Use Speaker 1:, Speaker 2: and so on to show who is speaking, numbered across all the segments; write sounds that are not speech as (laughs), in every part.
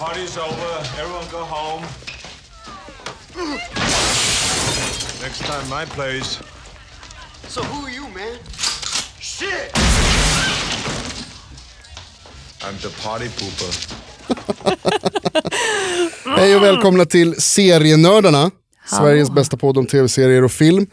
Speaker 1: party's over. Everyone go home. Next time my place.
Speaker 2: So who are you, man? Shit!
Speaker 1: I'm the party pooper.
Speaker 3: Hej och välkomna till Serienördarna, Sveriges bästa podd om tv-serier och film.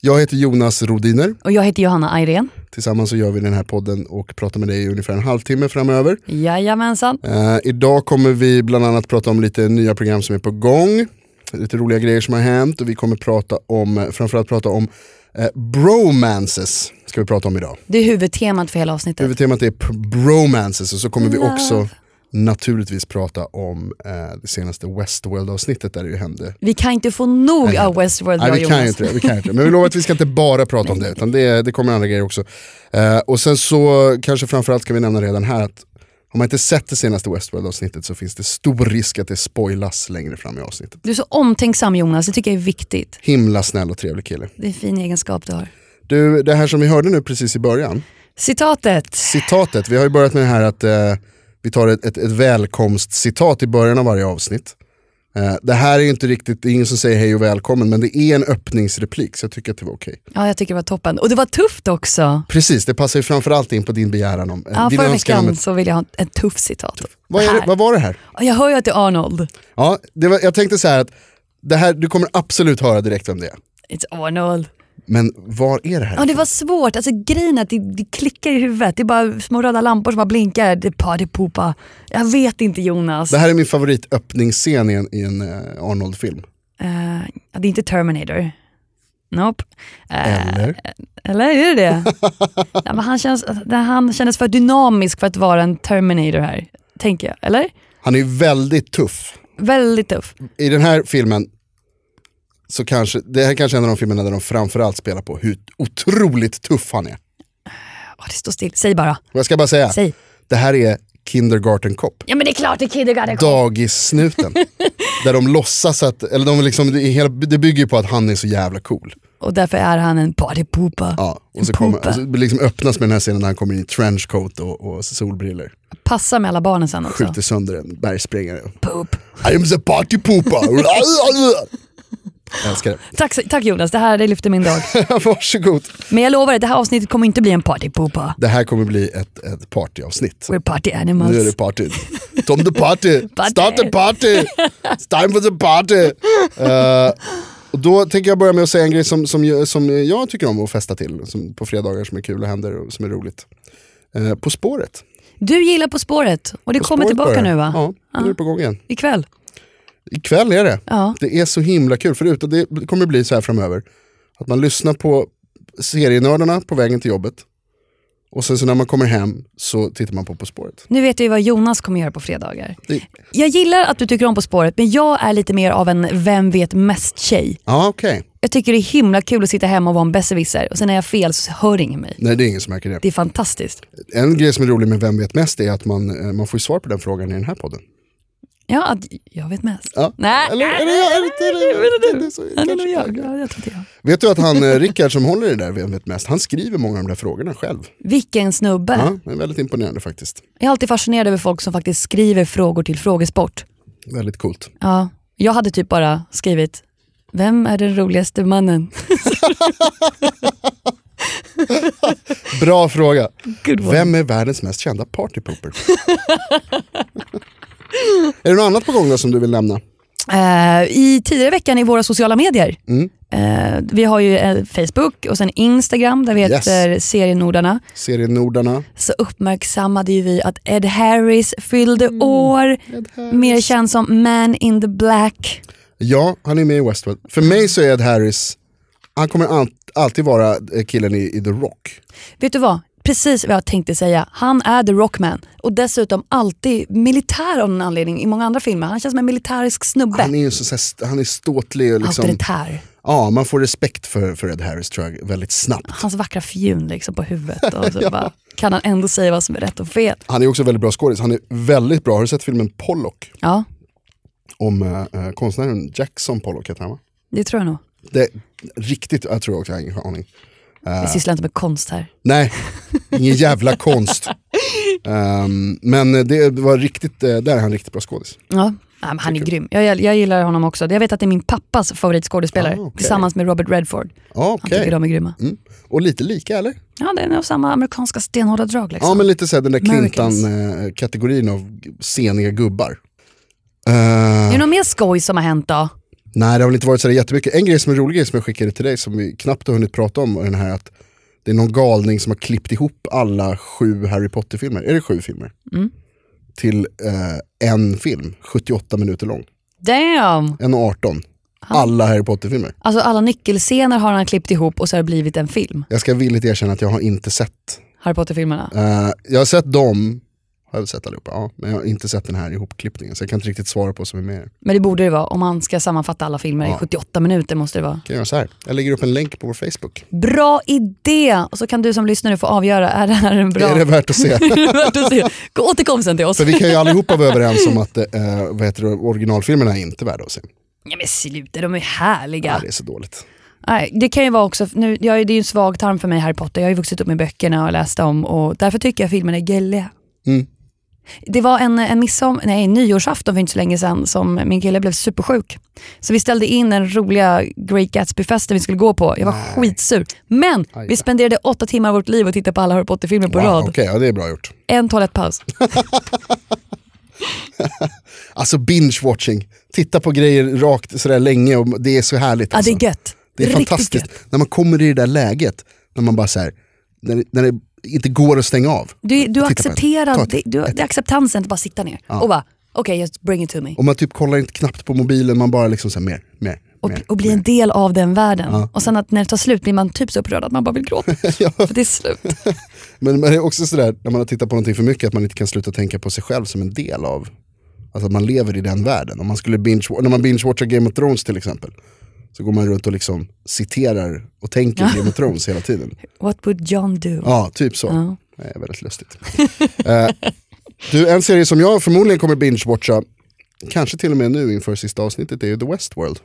Speaker 3: Jag heter Jonas Rodiner,
Speaker 4: Och jag heter Johanna Ayrén.
Speaker 3: tillsammans så gör vi den här podden och pratar med dig i ungefär en halvtimme framöver.
Speaker 4: Jajamensan.
Speaker 3: Eh, idag kommer vi bland annat prata om lite nya program som är på gång, lite roliga grejer som har hänt och vi kommer prata om, eh, framförallt prata om eh, bromances, ska vi prata om idag.
Speaker 4: Det är huvudtemat för hela avsnittet.
Speaker 3: Huvudtemat är pr- bromances och så kommer vi också naturligtvis prata om eh, det senaste Westworld-avsnittet där det ju hände
Speaker 4: Vi kan inte få nog
Speaker 3: Nej,
Speaker 4: av Westworld,
Speaker 3: Nej,
Speaker 4: jag
Speaker 3: vi
Speaker 4: Jonas.
Speaker 3: kan ju inte det, vi kan ju inte det. Men vi lovar att vi ska inte bara prata om det, utan det, det kommer andra grejer också. Eh, och sen så kanske framförallt ska vi nämna redan här att om man inte sett det senaste Westworld-avsnittet så finns det stor risk att det spoilas längre fram i avsnittet.
Speaker 4: Du är så omtänksam Jonas, det tycker jag är viktigt.
Speaker 3: Himla snäll och trevlig kille.
Speaker 4: Det är en fin egenskap du har.
Speaker 3: Du, det här som vi hörde nu precis i början,
Speaker 4: Citatet.
Speaker 3: citatet, vi har ju börjat med det här att eh, vi tar ett, ett, ett välkomstcitat i början av varje avsnitt. Eh, det här är ju inte riktigt, det är ingen som säger hej och välkommen, men det är en öppningsreplik så jag tycker att det var okej.
Speaker 4: Ja, jag tycker det var toppen. Och det var tufft också.
Speaker 3: Precis, det passar ju framförallt in på din begäran om,
Speaker 4: Ja,
Speaker 3: din
Speaker 4: förra
Speaker 3: önskan om
Speaker 4: veckan
Speaker 3: ett,
Speaker 4: så ville jag ha ett tufft citat.
Speaker 3: vad, är det,
Speaker 4: Här.
Speaker 3: vad var det här?
Speaker 4: Ja, Jag hör ju att det är Arnold.
Speaker 3: Ja, det var, jag tänkte så här att det här, du kommer absolut höra direkt om det är.
Speaker 4: It's Arnold.
Speaker 3: Men var är det här?
Speaker 4: Ja, det var svårt. Alltså grejen är att det, det klickar i huvudet. Det är bara små röda lampor som bara blinkar. Det är partypoopa. Jag vet inte Jonas.
Speaker 3: Det här är min favoritöppningsscen i en, i en eh, Arnold-film.
Speaker 4: Eh, ja, det är inte Terminator. Nope. Eh,
Speaker 3: Eller?
Speaker 4: Eller
Speaker 3: (laughs)
Speaker 4: är det det? Nej, men han, känns, han kändes för dynamisk för att vara en Terminator här, tänker jag. Eller?
Speaker 3: Han är ju väldigt tuff.
Speaker 4: Väldigt tuff.
Speaker 3: I den här filmen, så kanske, det här kanske är en av de filmerna där de framförallt spelar på hur otroligt tuff han är.
Speaker 4: Åh, det står still. Säg bara.
Speaker 3: Och jag ska bara säga,
Speaker 4: Säg.
Speaker 3: det här är Kindergarten Cop.
Speaker 4: Ja men det är klart det är Kindergarten Cop.
Speaker 3: dagissnuten. där de låtsas att, eller de liksom, det, är hela, det bygger ju på att han är så jävla cool.
Speaker 4: Och därför är han en partypoopa.
Speaker 3: Ja, och så, kommer, och så liksom öppnas med den här scenen när han kommer in i trenchcoat och, och solbriller.
Speaker 4: Passar med alla barnen sen också.
Speaker 3: Skjuter sönder en bergsprängare.
Speaker 4: Poop.
Speaker 3: I am the party pooper. (laughs) Jag älskar det.
Speaker 4: Tack, så- tack Jonas, det här det lyfter min dag.
Speaker 3: (laughs) Varsågod.
Speaker 4: Men jag lovar dig, det här avsnittet kommer inte bli en partypoopa.
Speaker 3: Det här kommer bli ett, ett partyavsnitt.
Speaker 4: We're party
Speaker 3: Nu är det
Speaker 4: animals.
Speaker 3: party. Tom the party.
Speaker 4: (laughs) Party.
Speaker 3: Start the party. It's time for the party. Eh, och då tänker jag börja med att säga en grej som, som, jag- som jag tycker om att festa till. Som på fredagar som är kul och händer och som är roligt. Eh, på spåret.
Speaker 4: Du gillar På spåret och det
Speaker 3: På
Speaker 4: kommer
Speaker 3: spåret
Speaker 4: tillbaka
Speaker 3: börjar.
Speaker 4: nu va?
Speaker 3: Ja, nu är det på gång igen.
Speaker 4: Ikväll.
Speaker 3: Ikväll är det.
Speaker 4: Ja.
Speaker 3: Det är så himla kul. Förut, och det kommer bli så här framöver. Att man lyssnar på serienördarna på vägen till jobbet. Och sen så när man kommer hem så tittar man på På spåret.
Speaker 4: Nu vet jag ju vad Jonas kommer göra på fredagar.
Speaker 3: Det,
Speaker 4: Jag gillar att du tycker om På spåret men jag är lite mer av en vem vet mest-tjej.
Speaker 3: ja, okej.
Speaker 4: Jag tycker det är himla kul att sitta hemma och vara en besserwisser och sen när jag har fel så hör ingen mig.
Speaker 3: Nej, det är ingen som märker det.
Speaker 4: Det är fantastiskt.
Speaker 3: En grej som är rolig med Vem vet mest är att man, eh, man får ju svar på den frågan i den här podden.
Speaker 4: Ja, att jag vet mest.
Speaker 3: Ja.
Speaker 4: Nej,
Speaker 3: Eller, eller, jag- eller, eller, eller, eller, så-
Speaker 4: Ja, det är nog
Speaker 3: kanske-
Speaker 4: jag. Ja, jag tror inte jag.
Speaker 3: Vet du att han, eh, Rickard som håller i det där Vem vet mest, han skriver många av de där frågorna själv.
Speaker 4: Vilken snubbe.
Speaker 3: Ja, det är väldigt imponerande faktiskt.
Speaker 4: Jag är alltid fascinerad över folk som faktiskt skriver frågor till frågesport.
Speaker 3: Väldigt coolt.
Speaker 4: Ja. Jag hade typ bara skrivit, vem är den roligaste mannen?
Speaker 3: Bra fråga.
Speaker 4: Good one.
Speaker 3: Vem är världens mest kända partypooper? (laughs) är det något annat på gång då som du vill nämna?
Speaker 4: Eh, I tidigare veckan i våra sociala medier.
Speaker 3: Mm.
Speaker 4: Eh, vi har ju eh, Facebook och sen Instagram där vi
Speaker 3: Yes.
Speaker 4: heter Serienordarna.
Speaker 3: Serienordarna.
Speaker 4: så uppmärksammade ju vi att Ed Harris fyllde år, mer känd som Man in the Black.
Speaker 3: Ja, han är med i Westworld. För mig så är Ed Harris, han kommer an- alltid vara eh, killen i, i The Rock.
Speaker 4: Vet du vad? Precis vad jag tänkte säga. Han är the Rockman och dessutom alltid militär av någon anledning i många andra filmer. Han känns som en militärisk snubbe.
Speaker 3: Han är ju så, så här, st- han är ståtlig och liksom,
Speaker 4: Auktoritär.
Speaker 3: ja man får respekt för, för Ed Harris tror jag väldigt snabbt.
Speaker 4: Hans vackra fjun liksom på huvudet
Speaker 3: (laughs)
Speaker 4: och så bara, kan han ändå säga vad som är rätt och fel.
Speaker 3: Han är också väldigt bra skådis, han är väldigt bra, har du sett filmen Pollock?
Speaker 4: Ja,
Speaker 3: Om eh, eh, konstnären Jackson Pollock heter han va?
Speaker 4: det tror jag nog.
Speaker 3: Det är riktigt, jag tror också, jag har ingen aning.
Speaker 4: Vi sysslar inte med konst här. (laughs)
Speaker 3: Nej, ingen jävla konst. Ehm, men det var riktigt, eh, där är han riktigt bra skådis.
Speaker 4: Ja. Nej, men han är grym. Jag, jag gillar honom också. Jag vet att det är min pappas favoritskådespelare
Speaker 3: Ah, okej.
Speaker 4: tillsammans med Robert Redford. Han
Speaker 3: Okej.
Speaker 4: tycker de är grymma.
Speaker 3: Mm. Och lite lika eller?
Speaker 4: Ja, det är nog samma amerikanska stenhårda drag liksom.
Speaker 3: Ja men lite såhär den där
Speaker 4: Americans.
Speaker 3: Clintan-kategorin av seniga gubbar. Eh,
Speaker 4: Är det något mer skoj som har hänt då?
Speaker 3: Nej det har väl inte varit sådär jättemycket. En grej som är rolig grej som jag skickade till dig som vi knappt har hunnit prata om är den här att det är någon galning som har klippt ihop alla sju Harry Potter-filmer, är det sju filmer? Till eh, en film, 78 minuter lång.
Speaker 4: Damn!
Speaker 3: En och 18. Alla Harry Potter-filmer.
Speaker 4: Alltså alla nyckelscener har han klippt ihop och så har det blivit en film.
Speaker 3: Jag ska villigt erkänna att jag har inte sett.
Speaker 4: Harry Potter-filmerna.
Speaker 3: Eh, jag har sett dem, har jag sett allihopa, ja, men jag har inte sett den här ihopklippningen så jag kan inte riktigt svara på vad som är med.
Speaker 4: Men det borde det vara. Om man ska sammanfatta alla filmer i 78 minuter måste det vara.
Speaker 3: kan jag göra så här. Jag lägger upp en länk på vår Facebook.
Speaker 4: Bra idé! Och så kan du som lyssnare få avgöra, är det här en bra...
Speaker 3: Är det värt att se?
Speaker 4: Är det (laughs) värt att se? Gå- Återkom sen till oss.
Speaker 3: För vi kan ju allihopa vara överens om att eh, vad heter det, originalfilmerna är inte värda att se.
Speaker 4: Ja, men sluta, de är härliga.
Speaker 3: Ja. Det är så dåligt.
Speaker 4: Nej, det kan ju vara också, nu, jag, det är ju en svag tarm för mig Harry Potter, jag har ju vuxit upp med böckerna och läst dem och därför tycker jag filmerna är gälliga.
Speaker 3: Mm.
Speaker 4: Det var en, en midsom, nej, nyårsafton för inte så länge sedan som min kille blev supersjuk. Så vi ställde in den roliga Great Gatsby-festen vi skulle gå på. Jag var skitsur. Men vi spenderade åtta timmar av vårt liv och tittade på alla Harry Potter-filmer på
Speaker 3: Wow,
Speaker 4: rad.
Speaker 3: Okej, ja, det är bra gjort. (laughs)
Speaker 4: En toalettpaus.
Speaker 3: Alltså binge-watching. Titta på grejer rakt sådär länge och det är så härligt.
Speaker 4: Ja, det
Speaker 3: alltså.
Speaker 4: är gött.
Speaker 3: Det är
Speaker 4: Riktigt
Speaker 3: fantastiskt.
Speaker 4: gött.
Speaker 3: När man kommer i det där läget, när man bara såhär, när, det- när det inte går att stänga av.
Speaker 4: Du, du
Speaker 3: Titta på den. Ta
Speaker 4: accepterar,
Speaker 3: ett-
Speaker 4: det, du, det är acceptansen att bara sitta ner och bara, okej, just bring it to me.
Speaker 3: Och man typ kollar inte knappt på mobilen, man bara liksom såhär mer, mer,
Speaker 4: och,
Speaker 3: mer.
Speaker 4: och bli en del av den världen. Och sen att när det tar slut blir man typ så upprörd att man bara vill gråta. För det är slut.
Speaker 3: Men, men det är också sådär, när man har tittat på någonting för mycket, att man inte kan sluta tänka på sig själv som en del av, alltså att man lever i den världen. Om man skulle binge, när man binge-watchar Game of Thrones till exempel, så går man runt och liksom citerar och tänker Game of Thrones hela tiden.
Speaker 4: What would John do?
Speaker 3: Ja, typ så. Det är väldigt lustigt. Eh, du, en serie som jag förmodligen kommer binge-watcha, kanske till och med nu inför sista avsnittet, är ju The Westworld.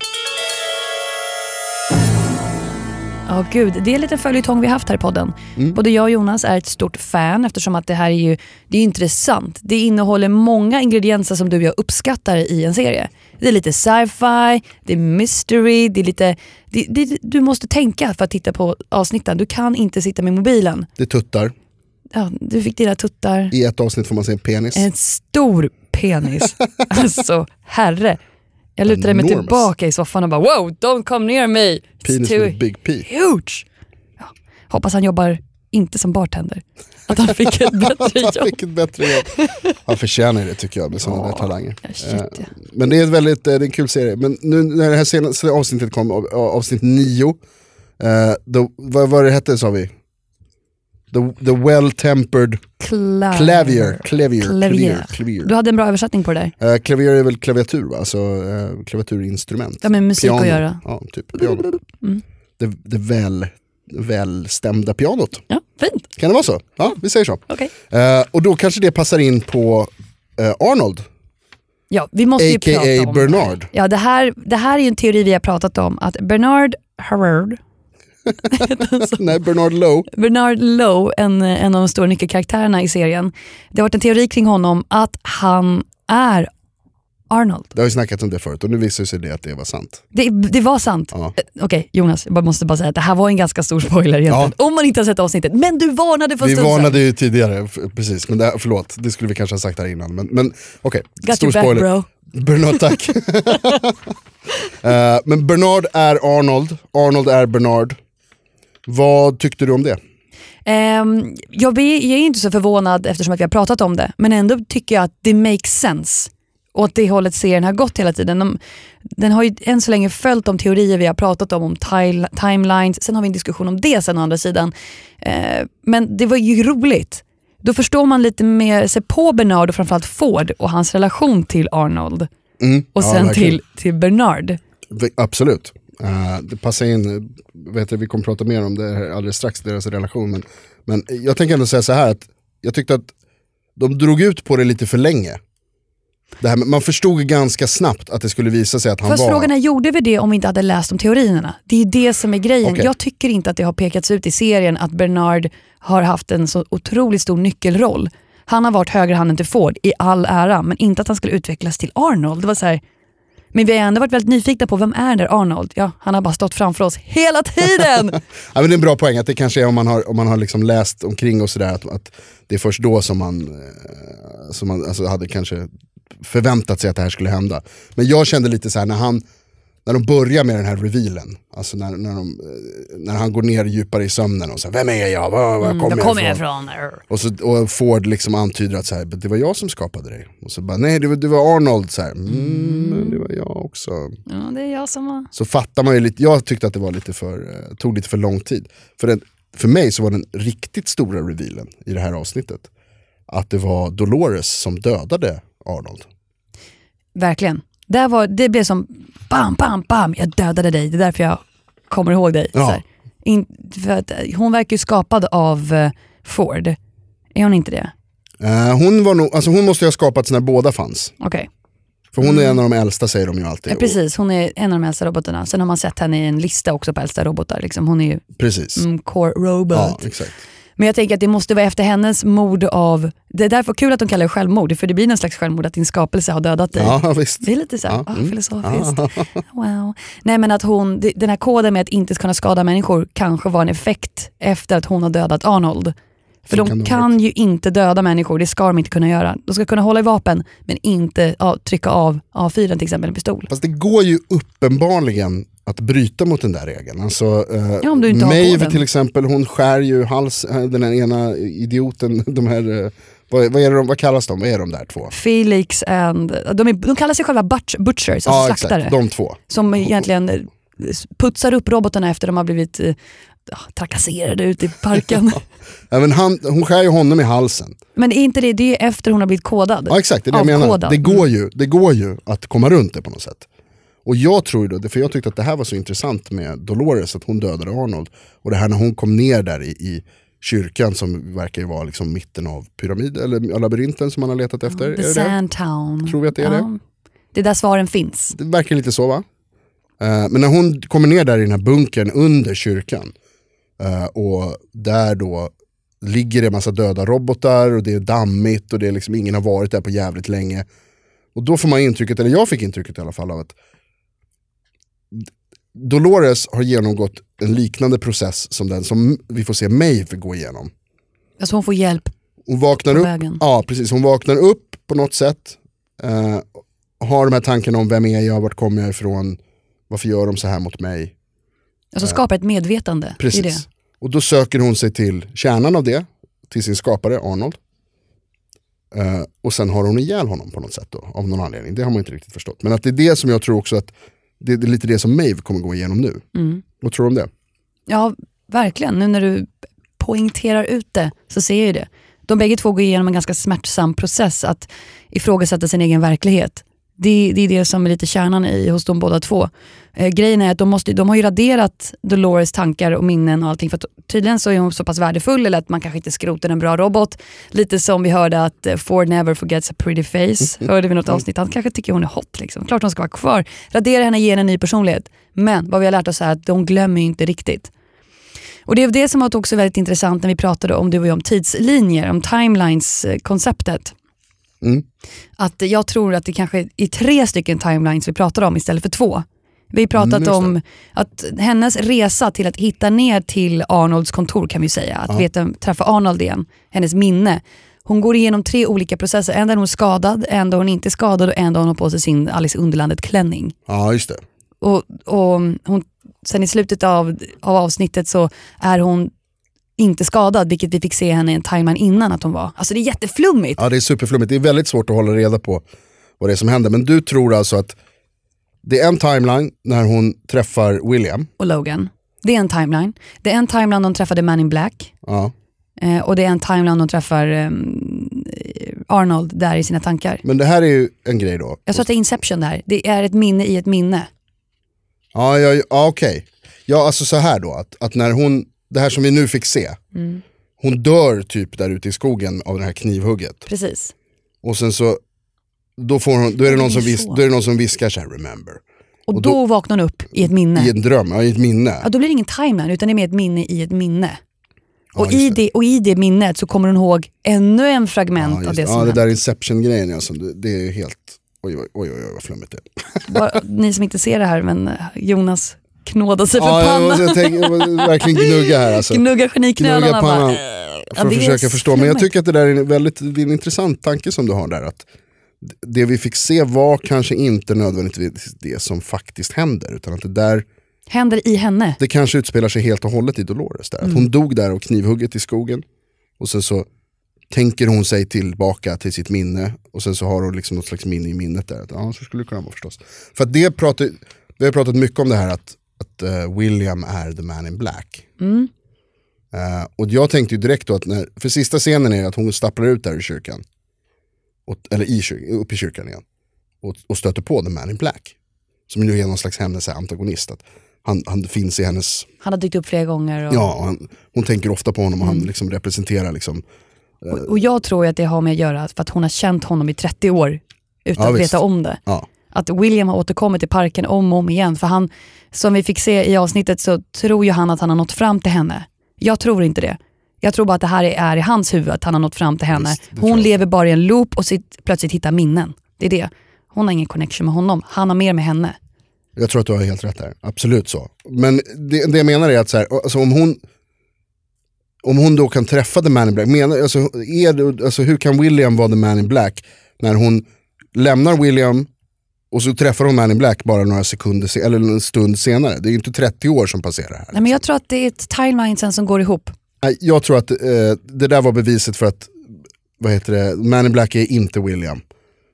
Speaker 4: Ja, gud. Det är en liten följetong vi har haft här i podden. Både jag och Jonas är ett stort fan eftersom att det här är ju det är ju intressant. Det innehåller många ingredienser som du och jag uppskattar i en serie. Det är lite sci-fi, det är mystery, det är lite... Det, det, du måste tänka för att titta på avsnitten. Du kan inte sitta med mobilen.
Speaker 3: Det tuttar,
Speaker 4: Ja, du fick dina tuttar.
Speaker 3: i ett avsnitt får man se en penis.
Speaker 4: En stor
Speaker 3: (laughs)
Speaker 4: penis. alltså, herre. Jag lutade mig
Speaker 3: Enormous.
Speaker 4: tillbaka i soffan och bara wow, don't come near me. It's
Speaker 3: Penis
Speaker 4: too
Speaker 3: with a big P.
Speaker 4: huge. Ja. Hoppas han jobbar inte som bartender. Att han
Speaker 3: (laughs)
Speaker 4: fick ett bättre
Speaker 3: Han
Speaker 4: jobb.
Speaker 3: fick ett bättre jobb. Han förtjänar det tycker jag med sådana där talanger.
Speaker 4: ja, shit, ja.
Speaker 3: Eh, Men det är, ett väldigt, eh, det är en kul serie. Men nu när det här senaste avsnittet kom, av- av- avsnitt nio, eh, då, vad var det hette sa vi? The, the well-tempered
Speaker 4: Klavier.
Speaker 3: clavier. Clavier.
Speaker 4: Klavier.
Speaker 3: Clavier. clavier.
Speaker 4: Ah, Du hade en bra översättning på det där.
Speaker 3: Eh, klavier är väl klaviatur va? Alltså eh, klaviaturinstrument.
Speaker 4: Ja, med musik
Speaker 3: piano.
Speaker 4: att göra. Mm.
Speaker 3: Ja, typ piano. Det, det väl, välstämda pianot.
Speaker 4: Ja, fint.
Speaker 3: Kan det vara så? Ja, vi säger så.
Speaker 4: Okej.
Speaker 3: Eh, och då kanske det passar in på eh, Arnold,
Speaker 4: Ja, vi måste ju prata
Speaker 3: a.k.a.
Speaker 4: om (laughs)
Speaker 3: Bernard. (laughs)
Speaker 4: Ja, det här, det här är ju en teori vi har pratat om. Att Bernard Harrod,
Speaker 3: Nej, Bernard Lowe.
Speaker 4: Bernard Lowe, en, en av de stora nyckelkaraktärerna i serien. Det har varit en teori kring honom att han är Arnold.
Speaker 3: Det har ju snackats om det förut och nu visar det sig det att det var sant.
Speaker 4: Det, det var sant.
Speaker 3: Ja.
Speaker 4: Eh, Okej Jonas, jag bara måste bara säga att det här var en ganska stor spoiler egentligen. Om man inte har sett avsnittet. Men du varnade för en
Speaker 3: Vi
Speaker 4: stund sedan.
Speaker 3: varnade ju tidigare, f- precis, men det, här- förlåt, det skulle vi kanske ha sagt här innan. Men, men okej,
Speaker 4: Got
Speaker 3: stor
Speaker 4: your back,
Speaker 3: spoiler.
Speaker 4: bro.
Speaker 3: Bernard,
Speaker 4: (laughs)
Speaker 3: tack. (laughs) Eh, men Bernard är Arnold, Arnold är Bernard. Vad tyckte du om det?
Speaker 4: Ehm, jag, blir- jag är inte så förvånad eftersom att vi har pratat om det, men ändå tycker jag att det makes sense. Och åt det hållet serien har gått hela tiden. De, den har ju än så länge följt de teorier vi har pratat om, om tile- timelines. Sen har vi en diskussion om det sen å andra sidan. Eh, men det var ju roligt. Då förstår man lite mer sig på Bernard och framförallt Ford och hans relation till Arnold. och
Speaker 3: Mm. ja,
Speaker 4: sen
Speaker 3: verkligen.
Speaker 4: till, till Bernard.
Speaker 3: Vi- Absolut. Eh, det passar in, eh, vet du, vi kommer prata mer om det här alldeles strax, deras relation. Men, men jag tänker ändå säga så här, att jag tyckte att de drog ut på det lite för länge. Det här, med- man förstod ganska snabbt att det skulle visa sig att han
Speaker 4: Fast
Speaker 3: var...
Speaker 4: frågan är, gjorde vi det om vi inte hade läst om teorierna? Det är ju det som är grejen.
Speaker 3: Okej.
Speaker 4: Jag tycker inte att det har pekats ut i serien att Bernard har haft en så otroligt stor nyckelroll. Han har varit högra handen till Ford i all ära, men inte att han skulle utvecklas till Arnold. Det var så här, men vi har ändå varit väldigt nyfikna på vem är den där Arnold? Ja, han har bara stått framför oss
Speaker 3: (laughs)
Speaker 4: hela tiden.
Speaker 3: Ja, men det är en bra poäng, att det kanske är om man har, om man har liksom läst omkring och sådär, att, att det är först då som man, eh, som man alltså, hade kanske förväntat sig att det här skulle hända. Men jag kände lite så här när han, när de börjar med den här revealen, alltså när, när, de, eh, när han går ner djupare i sömnen och så här, vem är jag, var, Mm, var kommer jag ifrån?
Speaker 4: ifrån.
Speaker 3: Och, så, och Ford liksom antyder att så här, det var jag som skapade dig. Och så bara, nej det var, det var Arnold, så här, mm, men det var jag också.
Speaker 4: Ja, det är jag som har...
Speaker 3: Så fattar man ju lite, jag tyckte att det var lite för, eh, tog lite för lång tid. För, den, för mig så var den riktigt stora revealen i det här avsnittet att det var Dolores som dödade Arnold.
Speaker 4: Verkligen. Det, var, det blev som bam, bam, bam, jag dödade dig. Det är därför jag kommer ihåg dig.
Speaker 3: Ja.
Speaker 4: Så här. In, för att, eh, hon verkar ju skapad av eh, Ford. Är hon inte det?
Speaker 3: Eh, hon, var nog, alltså hon måste ju ha skapats när båda fanns.
Speaker 4: Okej.
Speaker 3: För hon är en av de äldsta säger de ju alltid.
Speaker 4: Mm. Ja, precis, hon är en av de äldsta robotarna. Sen har man sett henne i en lista också på äldsta robotar. Liksom. Hon är ju
Speaker 3: Och, precis.
Speaker 4: en core robot.
Speaker 3: Ja, exakt.
Speaker 4: Men jag tänker att det måste vara efter hennes mord av... Det är därför kul att de kallar det självmord, för det blir någon slags självmord att din skapelse har dödat dig.
Speaker 3: Ja, (laughs) visst.
Speaker 4: Det är lite så här,
Speaker 3: Ja,
Speaker 4: ah,
Speaker 3: mm.
Speaker 4: filosofiskt. (laughs) Wow. Nej men att hon, det- den här koden med att inte kunna skada människor kanske var en effekt efter att hon har dödat Arnold. För
Speaker 3: Det
Speaker 4: de
Speaker 3: kan
Speaker 4: kan,
Speaker 3: det ha varit.
Speaker 4: ju inte döda människor, det ska de inte kunna göra. De ska kunna hålla i vapen men inte ja, trycka av A4 till exempel, en pistol.
Speaker 3: Fast det går ju uppenbarligen att bryta mot den där regeln. Alltså, eh,
Speaker 4: Ja, om du inte har
Speaker 3: Maeve
Speaker 4: koden.
Speaker 3: till exempel, hon skär ju hals, eh, den här ena idioten, (laughs) de här, eh, vad, vad, är det de, vad kallas de, vad är de där två?
Speaker 4: Alltså, Felix and, de, är, de kallar sig själva butch, butchers, alltså slaktare.
Speaker 3: de två.
Speaker 4: Som egentligen eh, putsar upp robotarna efter de har blivit eh, ja, trakasserade ute i
Speaker 3: (laughs)
Speaker 4: parken.
Speaker 3: Även han, hon skär ju honom i halsen.
Speaker 4: men är inte det, det är efter hon har blivit kodad?
Speaker 3: Ja exakt, det är det jag menar.
Speaker 4: Avkodad.
Speaker 3: Det går, ju, det går ju att komma runt det på något sätt. Och jag tror ju då, för jag tyckte att det här var så intressant med Dolores, att hon dödade Arnold. Och det här när hon kom ner där i, i kyrkan som verkar ju vara liksom mitten av pyramiden, eller labyrinten som man har letat efter. är
Speaker 4: Mm. The
Speaker 3: det det?
Speaker 4: Sandtown.
Speaker 3: Tror vi att det är det?
Speaker 4: Det är där svaren finns.
Speaker 3: Det verkar lite så va? Eh, men när hon kommer ner där i den här bunkern under kyrkan eh, och där då ligger det en massa döda robotar och det är dammigt och det är liksom ingen har varit där på jävligt länge. Och då får man intrycket, eller jag fick intrycket i alla fall av att Dolores har genomgått en liknande process som den som vi får se Maeve gå igenom.
Speaker 4: Alltså hon får hjälp.
Speaker 3: Hon vaknar
Speaker 4: På
Speaker 3: upp,
Speaker 4: vägen.
Speaker 3: ja, precis, hon vaknar upp på något sätt. Eh, har de här tankarna om vem är jag, vart kommer jag ifrån, varför gör de så här mot mig.
Speaker 4: Alltså skapa ett medvetande. Det är
Speaker 3: Precis.
Speaker 4: det.
Speaker 3: Och då söker hon sig till kärnan av det, till sin skapare Arnold. Eh, och sen har hon ihjäl honom på något sätt då, av någon anledning. Det har man inte riktigt förstått. Men att det är det som jag tror också att, det är lite det som Maeve kommer gå igenom nu.
Speaker 4: Mm.
Speaker 3: Vad tror du om det?
Speaker 4: Ja, verkligen. Nu när du poängterar ut det så ser jag ju det. De bägge två går igenom en ganska smärtsam process att ifrågasätta sin egen verklighet. Det, det är det som är lite kärnan i hos de båda två. Eh, grejen är att de, måste, de har ju raderat Dolores tankar och minnen och allting för att tydligen så är hon så pass värdefull eller att man kanske inte skrotar en bra robot. Lite som vi hörde att eh, Ford never forgets a pretty face. Hörde vi något avsnitt, han kanske tycker hon är hot liksom. Klart hon ska vara kvar. Radera henne, ge henne en ny personlighet. Men vad vi har lärt oss är att de glömmer ju inte riktigt. Och det är det som var också väldigt intressant när vi pratade om du och jag om tidslinjer, om timelines-konceptet.
Speaker 3: Mm.
Speaker 4: Att jag tror att det kanske är tre stycken timelines vi pratar om istället för två. Vi har pratat
Speaker 3: Mm, just det.
Speaker 4: om att hennes resa till att hitta ner till Arnolds kontor kan vi säga, att veta, träffa Arnold igen, hennes minne. Hon går igenom tre olika processer, en där hon är skadad, en där hon inte är skadad och en där hon har på sig sin Alice i Underlandet-klänning.
Speaker 3: Ja, just det.
Speaker 4: Och, och hon, sen i slutet av, av avsnittet så är hon inte skadad, vilket vi fick se henne i en timeline innan att hon var. Alltså det är jätteflummigt.
Speaker 3: Ja det är superflummigt, det är väldigt svårt att hålla reda på vad det är som händer. Men du tror alltså att det är en timeline när hon träffar William.
Speaker 4: Och Logan, det är en timeline. Det är en timeline de träffade Man in Black
Speaker 3: Ja.
Speaker 4: eh, och det är en timeline de träffar ehm, eh, Arnold där i sina tankar.
Speaker 3: Men det här är ju en grej då.
Speaker 4: Jag tror att det är Inception där. Det är ett minne i ett minne.
Speaker 3: Ja, ja, ja okej. Ja alltså så här då, att, att när hon, det här som vi nu fick se.
Speaker 4: Mm.
Speaker 3: Hon dör typ där ute i skogen av det här knivhugget.
Speaker 4: Precis.
Speaker 3: Och sen så, då, får hon, då, är, det någon
Speaker 4: det
Speaker 3: som
Speaker 4: är
Speaker 3: vis,
Speaker 4: så.
Speaker 3: då är det någon som viskar så här remember.
Speaker 4: Och,
Speaker 3: Och
Speaker 4: då,
Speaker 3: då-
Speaker 4: vaknar hon upp i ett minne.
Speaker 3: I en dröm, ja, i ett minne.
Speaker 4: Ja, då blir det ingen timeline utan det är mer ett minne i ett minne. Och,
Speaker 3: just
Speaker 4: i det, och i det minnet så kommer hon ihåg ännu en fragment
Speaker 3: Ja,
Speaker 4: av
Speaker 3: just,
Speaker 4: det som
Speaker 3: ja, det
Speaker 4: hände.
Speaker 3: där Inception-grejen, ja, som du- det är ju helt... Oj, oj, oj, oj vad flummigt det är.
Speaker 4: Bara, ni som inte ser det här, men eh, Jonas knådar sig för
Speaker 3: Ja, jag, måste-
Speaker 4: pannan.
Speaker 3: jag, tänker, jag måste verkligen gnugga här alltså.
Speaker 4: Gnuggar geniknölarna
Speaker 3: Gnugga pannan.
Speaker 4: bara. "Äh,
Speaker 3: För att
Speaker 4: det är
Speaker 3: försöka förstå. Men jag
Speaker 4: flummigt.
Speaker 3: tycker att det där är en väldigt det är en intressant tanke som du har där. Att det vi fick se var kanske inte nödvändigtvis det som faktiskt händer. Utan att det där,
Speaker 4: Händer i henne.
Speaker 3: det kanske utspelar sig helt och hållet i Dolores. Där. Att hon dog där av knivhugget i skogen. Och sen så tänker hon sig tillbaka till sitt minne. Och sen så har hon liksom något slags minne i minnet där. Att, ja, så skulle det kunna vara förstås. För att det pratar, vi har pratat mycket om det här att, att eh, William är the man in black. Eh, och jag tänkte ju direkt då att, när, för sista scenen är att hon stapplar ut där i kyrkan. Och, eller i kyrkan, upp i kyrkan igen. Och, och stöter på the man in black. Som ju är någon slags hennes antagonist. Att han, han finns i hennes
Speaker 4: Han har dykt upp flera gånger. Och,
Speaker 3: Ja, och han, hon tänker ofta på honom och han liksom representerar liksom,
Speaker 4: och, och jag tror ju att det har med att göra för att hon har känt honom i 30 år utan
Speaker 3: Ja,
Speaker 4: att
Speaker 3: visst.
Speaker 4: veta om det.
Speaker 3: ja,
Speaker 4: Att William har återkommit i parken om och om igen. För han, som vi fick se i avsnittet så tror ju han att han har nått fram till henne. Jag tror inte det. Jag tror bara att det här är i hans huvud, att han har nått fram till henne.
Speaker 3: Visst, det tror
Speaker 4: Hon
Speaker 3: jag.
Speaker 4: lever bara i en loop och sitt, plötsligt hittar minnen. Det är det. Hon har ingen connection med honom. Han har mer med henne.
Speaker 3: jag tror att du har helt rätt där, absolut så. Men det, det jag menar är att så här, alltså om hon om hon då kan träffa the man in black, menar, alltså, är, det- alltså, hur kan William vara the man in black när hon lämnar William och så träffar hon man in black bara några sekunder se- eller en stund senare. Det är ju inte 30 år som passerar här.
Speaker 4: Nej, men jag tror att det är ett timeline sen som går ihop.
Speaker 3: Nej, Jag tror att eh, det där var beviset för att vad heter det, Man in Black är inte William.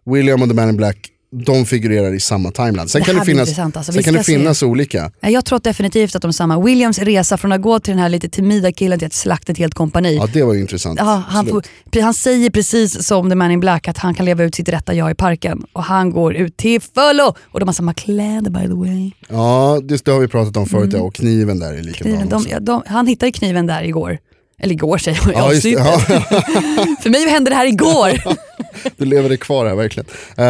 Speaker 3: William och The Man in Black, de figurerar i samma timeline. Sen
Speaker 4: Det
Speaker 3: kan
Speaker 4: här
Speaker 3: det
Speaker 4: blir
Speaker 3: finnas,
Speaker 4: intressant, alltså. Vi
Speaker 3: sen kan det
Speaker 4: ska se.
Speaker 3: finnas olika.
Speaker 4: Nej, Jag tror att definitivt att de är samma. Williams resa från att gå till den här lite timida killen till att slakta ett helt kompani.
Speaker 3: Ja det var ju intressant.
Speaker 4: Ja, han,
Speaker 3: Absolut.
Speaker 4: får, pre- han säger precis som The Man in Black att han kan leva ut sitt rätta jag i parken. Och han går ut till fullo! Och de har samma kläder by the way.
Speaker 3: ja det, det har vi pratat om förut ja, och kniven där är likadan
Speaker 4: Mm. Kniven, de,
Speaker 3: också.
Speaker 4: ja, de, han hittade ju kniven där igår. Eller igår säger jag i
Speaker 3: (laughs) Ja, just det.
Speaker 4: avsnittet. För mig hände det
Speaker 3: (laughs)
Speaker 4: här igår.
Speaker 3: Du lever det kvar här verkligen. Eh,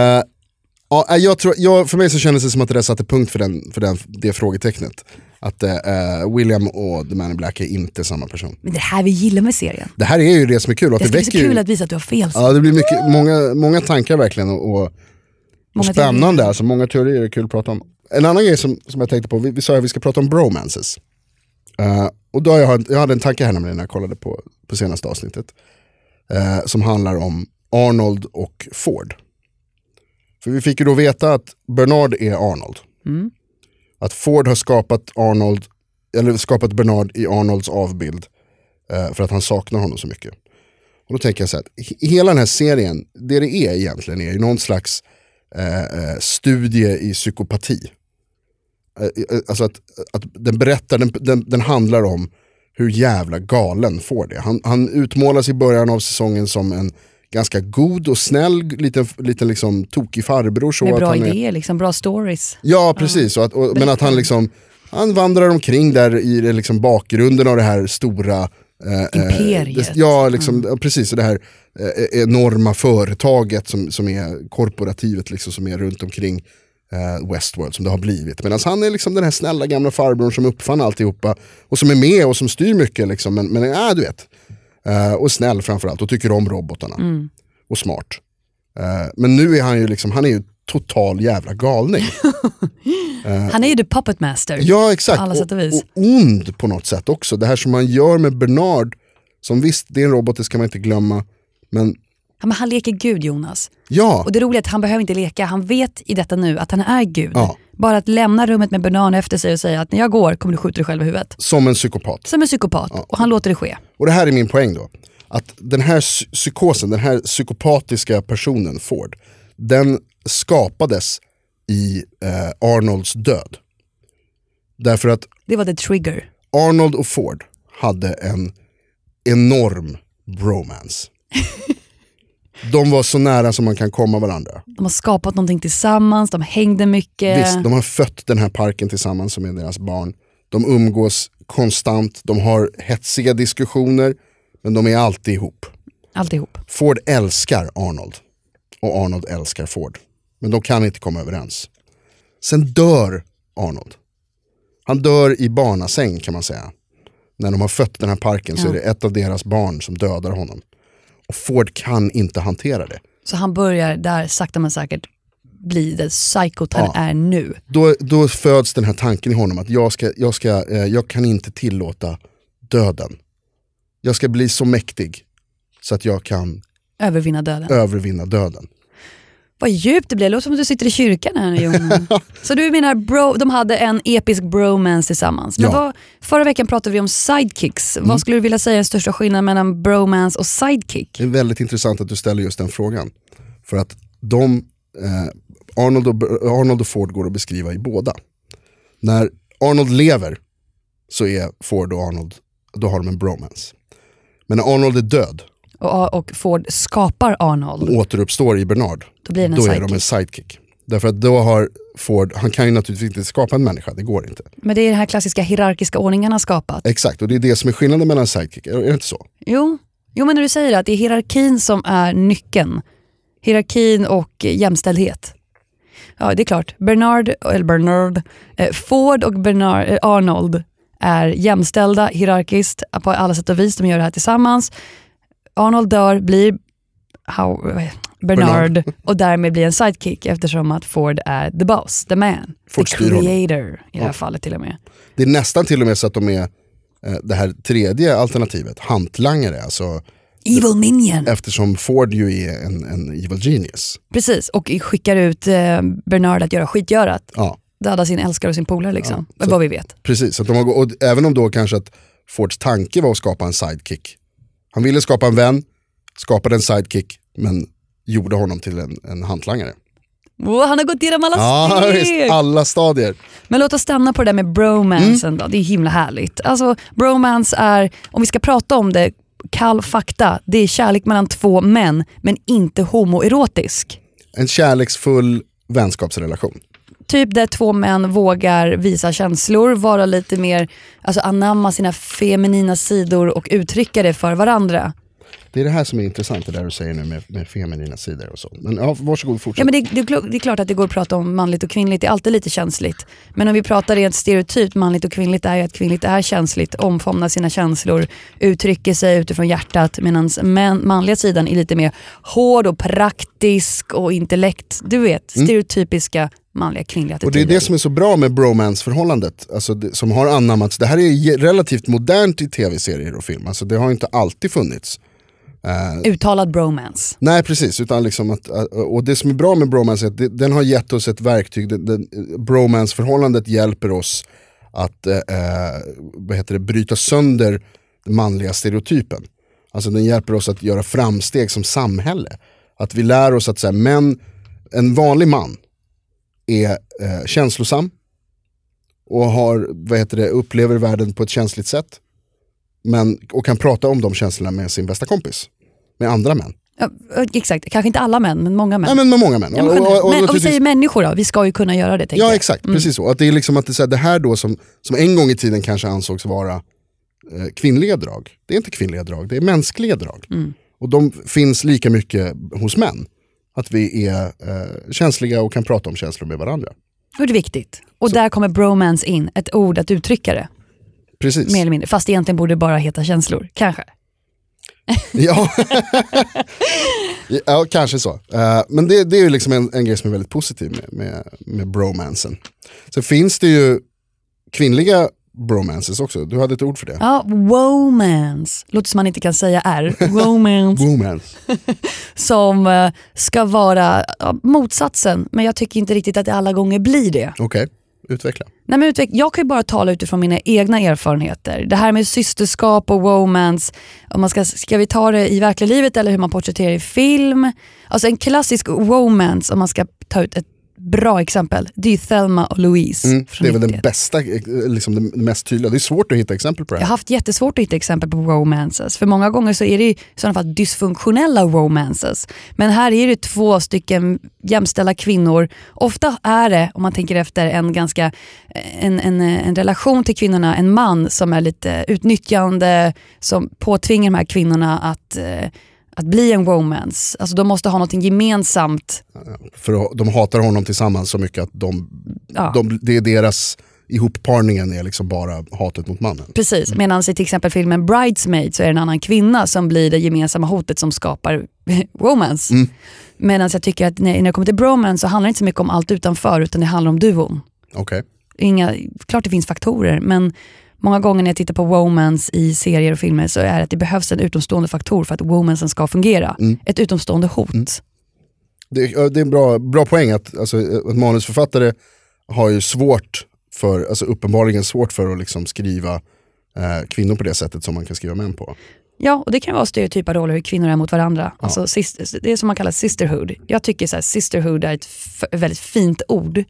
Speaker 3: ja, nej, jag tror, jag, för mig så kändes det som att det där satte punkt för, den, för den, det frågetecknet. Att eh, eh, William och The Man in Black är inte samma person.
Speaker 4: Men det är här vi gillar med serien.
Speaker 3: Det här är ju det som är kul. och Att
Speaker 4: Det
Speaker 3: det
Speaker 4: ska bli så
Speaker 3: väcker ju-
Speaker 4: kul att visa att du har fel.
Speaker 3: Ja det blir mycket, många, många tankar verkligen och, och, och
Speaker 4: Många
Speaker 3: spännande.
Speaker 4: teorier.
Speaker 3: Alltså, många teorier är kul att prata om. En annan grej som, som jag tänkte på, vi, vi sa ju att vi ska prata om bromances. Eh, och då har jag, jag hade en tanke här nämligen när jag kollade på, på senaste avsnittet. eh, som handlar om Arnold och Ford. För vi fick ju då veta att Bernard är Arnold.
Speaker 4: Mm.
Speaker 3: Att Ford har skapat Arnold, eller skapat Bernard i Arnolds avbild. eh, för att han saknar honom så mycket. Och då tänker jag så här, att he- hela den här serien, det det är egentligen är ju någon slags eh, eh, studie i psykopati. Eh, eh, alltså att, att den berättar, den, den, den handlar om hur jävla galen får det. Han, han utmålas i början av säsongen som en ganska god och snäll, liten, liten liksom tokig farbror. Så
Speaker 4: Med
Speaker 3: att
Speaker 4: bra
Speaker 3: han är,
Speaker 4: idéer, liksom, bra stories.
Speaker 3: Ja, precis. Och att, och, men att han liksom han vandrar omkring där i det liksom bakgrunden av det här stora eh, eh,
Speaker 4: Imperiet.
Speaker 3: det- ja, liksom, ja, precis. Och det här eh, enorma företaget som, som är korporativet liksom, som är runt omkring eh, Westworld som det har blivit. Medan han är liksom den här snälla gamla farbrorn som uppfann alltihopa och som är med och som styr mycket. Liksom, men men äh, du vet. Eh, och snäll framförallt och tycker om robotarna. Och smart. Eh, men nu är han ju liksom, han är ju total jävla galning.
Speaker 4: Han är ju the puppet master.
Speaker 3: Ja exakt,
Speaker 4: På alla sätt och vis.
Speaker 3: ond på något sätt också. Det här som man gör med Bernard, som visst det är en robot, det ska man inte glömma. Men
Speaker 4: Ja, men han leker gud Jonas.
Speaker 3: ja,
Speaker 4: Och det roliga är att han behöver inte leka, han vet i detta nu att han är Gud.
Speaker 3: Ja.
Speaker 4: Bara att lämna rummet med banan efter sig och säga att när jag går kommer du skjuta dig själv i huvudet.
Speaker 3: som en psykopat.
Speaker 4: Som en psykopat och han låter det ske.
Speaker 3: Och det här är min poäng då. Att den här psy- psykosen, den här psykopatiska personen Ford, den skapades i eh, Arnolds död. Därför att
Speaker 4: Det var the trigger.
Speaker 3: Arnold och Ford hade en enorm bromance.
Speaker 4: (laughs)
Speaker 3: De var så nära som man kan komma varandra.
Speaker 4: De har skapat någonting tillsammans, de hängde mycket.
Speaker 3: Visst, de har fött den här parken tillsammans som är deras barn. De umgås konstant, de har hetsiga diskussioner, men de är alltid ihop.
Speaker 4: Alltihop.
Speaker 3: Ford älskar Arnold och Arnold älskar Ford. Men de kan inte komma överens. Sen dör Arnold. Han dör i barnasäng kan man säga. när de har fött den här parken så
Speaker 4: Ja.
Speaker 3: är det ett av deras barn som dödar honom. Och Ford kan inte hantera det.
Speaker 4: Så han börjar där sakta men säkert bli det psykot han
Speaker 3: Ja.
Speaker 4: är nu.
Speaker 3: Då, då föds den här tanken i honom att jag, ska, jag, ska, eh, jag kan inte tillåta döden. Jag ska bli så mäktig så att jag kan
Speaker 4: Övervinna döden.
Speaker 3: övervinna döden.
Speaker 4: Vad djupt det blev, det låter som att du sitter i kyrkan här nu Jonas.
Speaker 3: (laughs)
Speaker 4: Så du menar, bro, de hade en episk bromance tillsammans. Men
Speaker 3: Ja. Mm.
Speaker 4: vad, förra veckan pratade vi om sidekicks. Vad skulle du vilja säga är den största skillnaden mellan bromance och sidekick?
Speaker 3: Det är väldigt intressant att du ställer just den frågan. För att de, eh, Arnold, och, Arnold och Ford går att beskriva i båda. När Arnold lever så är Ford och Arnold, då har de en bromance. Men när Arnold är död
Speaker 4: Och, och Ford skapar Arnold.
Speaker 3: och återuppstår i Bernard,
Speaker 4: Då blir den en
Speaker 3: då är de en
Speaker 4: sidekick.
Speaker 3: sidekick. Därför att då har Ford, han kan ju naturligtvis inte skapa en människa, det går inte.
Speaker 4: Men det är den här klassiska hierarkiska ordningen han har skapat.
Speaker 3: Exakt, och det är det som är skillnaden mellan sidekickar, är det inte så?
Speaker 4: Jo. jo, men när du säger det, att det är hierarkin som är nyckeln. Hierarkin och eh, jämställdhet. Ja, det är klart. Bernard, eller Bernard, eh, Ford och Bernard, eh, Arnold är jämställda hierarkiskt på alla sätt och vis. De gör det här tillsammans. Arnold dör, blir how, eh, Bernard,
Speaker 3: Bernard.
Speaker 4: och därmed blir en sidekick eftersom att Ford är the boss, the man,
Speaker 3: Ford
Speaker 4: the
Speaker 3: styr honom.
Speaker 4: creator i det här fallet till och med.
Speaker 3: Det är nästan till och med så att de är eh, det här tredje alternativet, hantlangare, alltså
Speaker 4: Evil minion.
Speaker 3: eftersom Ford ju är en, en evil genius.
Speaker 4: Precis, och skickar ut eh, Bernard att göra skitgörat.
Speaker 3: Ja,
Speaker 4: Döda sin älskare och sin polare liksom.
Speaker 3: Ja, så-
Speaker 4: Vad vi vet.
Speaker 3: precis. Så att de har, gå- och även om då kanske att Fords tanke var att skapa en sidekick. Han ville skapa en vän, skapade en sidekick, men gjorde honom till en, en hantlangare.
Speaker 4: Åh, han har gått igenom alla
Speaker 3: Ja, Mm.
Speaker 4: steg!
Speaker 3: visst, alla stadier.
Speaker 4: Men låt oss stanna på det där med bromansen då. Det är himla härligt. Alltså bromance är, om vi ska prata om det, kall fakta. Det är kärlek mellan två män, men inte homoerotisk.
Speaker 3: En kärleksfull vänskapsrelation.
Speaker 4: Typ där två män vågar visa känslor, vara lite mer, alltså anamma sina feminina sidor och uttrycka det för varandra.
Speaker 3: Det är det här som är intressant, det där du säger nu med, med feminina sidor och så. Men ja, varsågod, fortsätt.
Speaker 4: Ja, men det, det, är klo- det är klart att det går att prata om manligt och kvinnligt, det är alltid lite känsligt. Men om vi pratar rent stereotypt, manligt och kvinnligt är ju att kvinnligt är känsligt, omfamnar sina känslor, uttrycker sig utifrån hjärtat medan män, manliga sidan är lite mer hård och praktisk och intellekt. Du vet, stereotypiska manliga kvinnliga
Speaker 3: Mm. Och det är
Speaker 4: attityder.
Speaker 3: det som är så bra med bromance-förhållandet, alltså det, som har anammats. Det här är ge- relativt modernt i tv-serier och film, alltså det har inte alltid funnits.
Speaker 4: Uttalad bromance.
Speaker 3: Nej precis, utan liksom att, och det som är bra med bromance är att det, den har gett oss ett verktyg, den, den, bromance-förhållandet hjälper oss att eh, eh, vad heter det, bryta sönder den manliga stereotypen. Alltså den hjälper oss att göra framsteg som samhälle. Att vi lär oss att så här, män, en vanlig man är eh, känslosam och har, vad heter det, upplever världen på ett känsligt sätt. Men, och kan prata om de känslorna med sin bästa kompis, med andra män.
Speaker 4: Ja, exakt, kanske inte alla män, men många män.
Speaker 3: Nej men med många män.
Speaker 4: Ja, men,
Speaker 3: Och- och- och- och
Speaker 4: men om vi
Speaker 3: naturligtvis-
Speaker 4: säger människor då, vi ska ju kunna göra det. tänker
Speaker 3: ja
Speaker 4: jag.
Speaker 3: exakt, precis så. Att det är liksom att det, är så här, det här då som, som en gång i tiden kanske ansågs vara eh, kvinnliga drag. Det är inte kvinnliga drag, det är mänskliga drag.
Speaker 4: Mm.
Speaker 3: Och de finns lika mycket hos män. Att vi är eh, känsliga och kan prata om känslor med varandra.
Speaker 4: Och det är viktigt. Och där kommer bromance in, ett ord att uttrycka det.
Speaker 3: Precis.
Speaker 4: Mer eller mindre. Fast egentligen borde det bara heta känslor. Kanske.
Speaker 3: (laughs) Ja. ja, kanske så. Eh, men det, det är ju liksom en, en grej som är väldigt positiv med, med, med bromansen. Sen finns det ju kvinnliga bromances också. Du hade ett ord för det.
Speaker 4: Ja, womance. Låter som man inte kan säga
Speaker 3: (laughs)
Speaker 4: R. Womance.
Speaker 3: Bromance.
Speaker 4: som eh, ska vara ja, motsatsen. Men jag tycker inte riktigt att det alla gånger blir det.
Speaker 3: Okej, utveckla.
Speaker 4: Nej, men utveck- jag kan ju bara tala utifrån mina egna erfarenheter. Det här med systerskap och romance, om man ska, ska vi ta det i verkliga livet eller hur man porträtterar i film? Alltså en klassisk romance, om man ska ta ut ett bra exempel, det är ju Thelma och Louise. från
Speaker 3: Mm, Det är väl
Speaker 4: 91.
Speaker 3: den bästa, eh, liksom den mest tydliga. Det är svårt att hitta exempel på det
Speaker 4: Jag
Speaker 3: här.
Speaker 4: har haft jättesvårt att hitta exempel på romances, för många gånger så är det ju i sådana fall dysfunktionella romances. Men här är det två stycken jämställda kvinnor. Ofta är det, om man tänker efter, en, ganska, en, en, en relation till kvinnorna, en man som är lite utnyttjande, som påtvingar de här kvinnorna att, eh, att bli en romance. Alltså de måste ha något gemensamt
Speaker 3: För de hatar honom tillsammans så mycket att de,
Speaker 4: Ja.
Speaker 3: de, det är deras ihopparningen är liksom bara hatet mot mannen.
Speaker 4: Precis, medan i till exempel filmen Bridesmaid så är det en annan kvinna som blir det gemensamma hotet som skapar (laughs) romance. Medan jag tycker att när när det kommer till bromance så handlar det inte så mycket om allt utanför utan det handlar om duon.
Speaker 3: Okej.
Speaker 4: Inga, klart det finns faktorer men många gånger när jag tittar på romance i serier och filmer så är det att det behövs en utomstående faktor för att romancen ska fungera. Ett utomstående hot.
Speaker 3: Det, ja, det är en bra, bra poäng att, alltså, att manusförfattare har ju svårt för, alltså uppenbarligen svårt för att liksom skriva eh, kvinnor på det sättet som man kan skriva män på.
Speaker 4: Ja, och det kan vara stereotypa roller hur kvinnor är mot varandra. Alltså, sis- det är som man kallar sisterhood. Jag tycker så här, sisterhood är ett f- väldigt fint ord.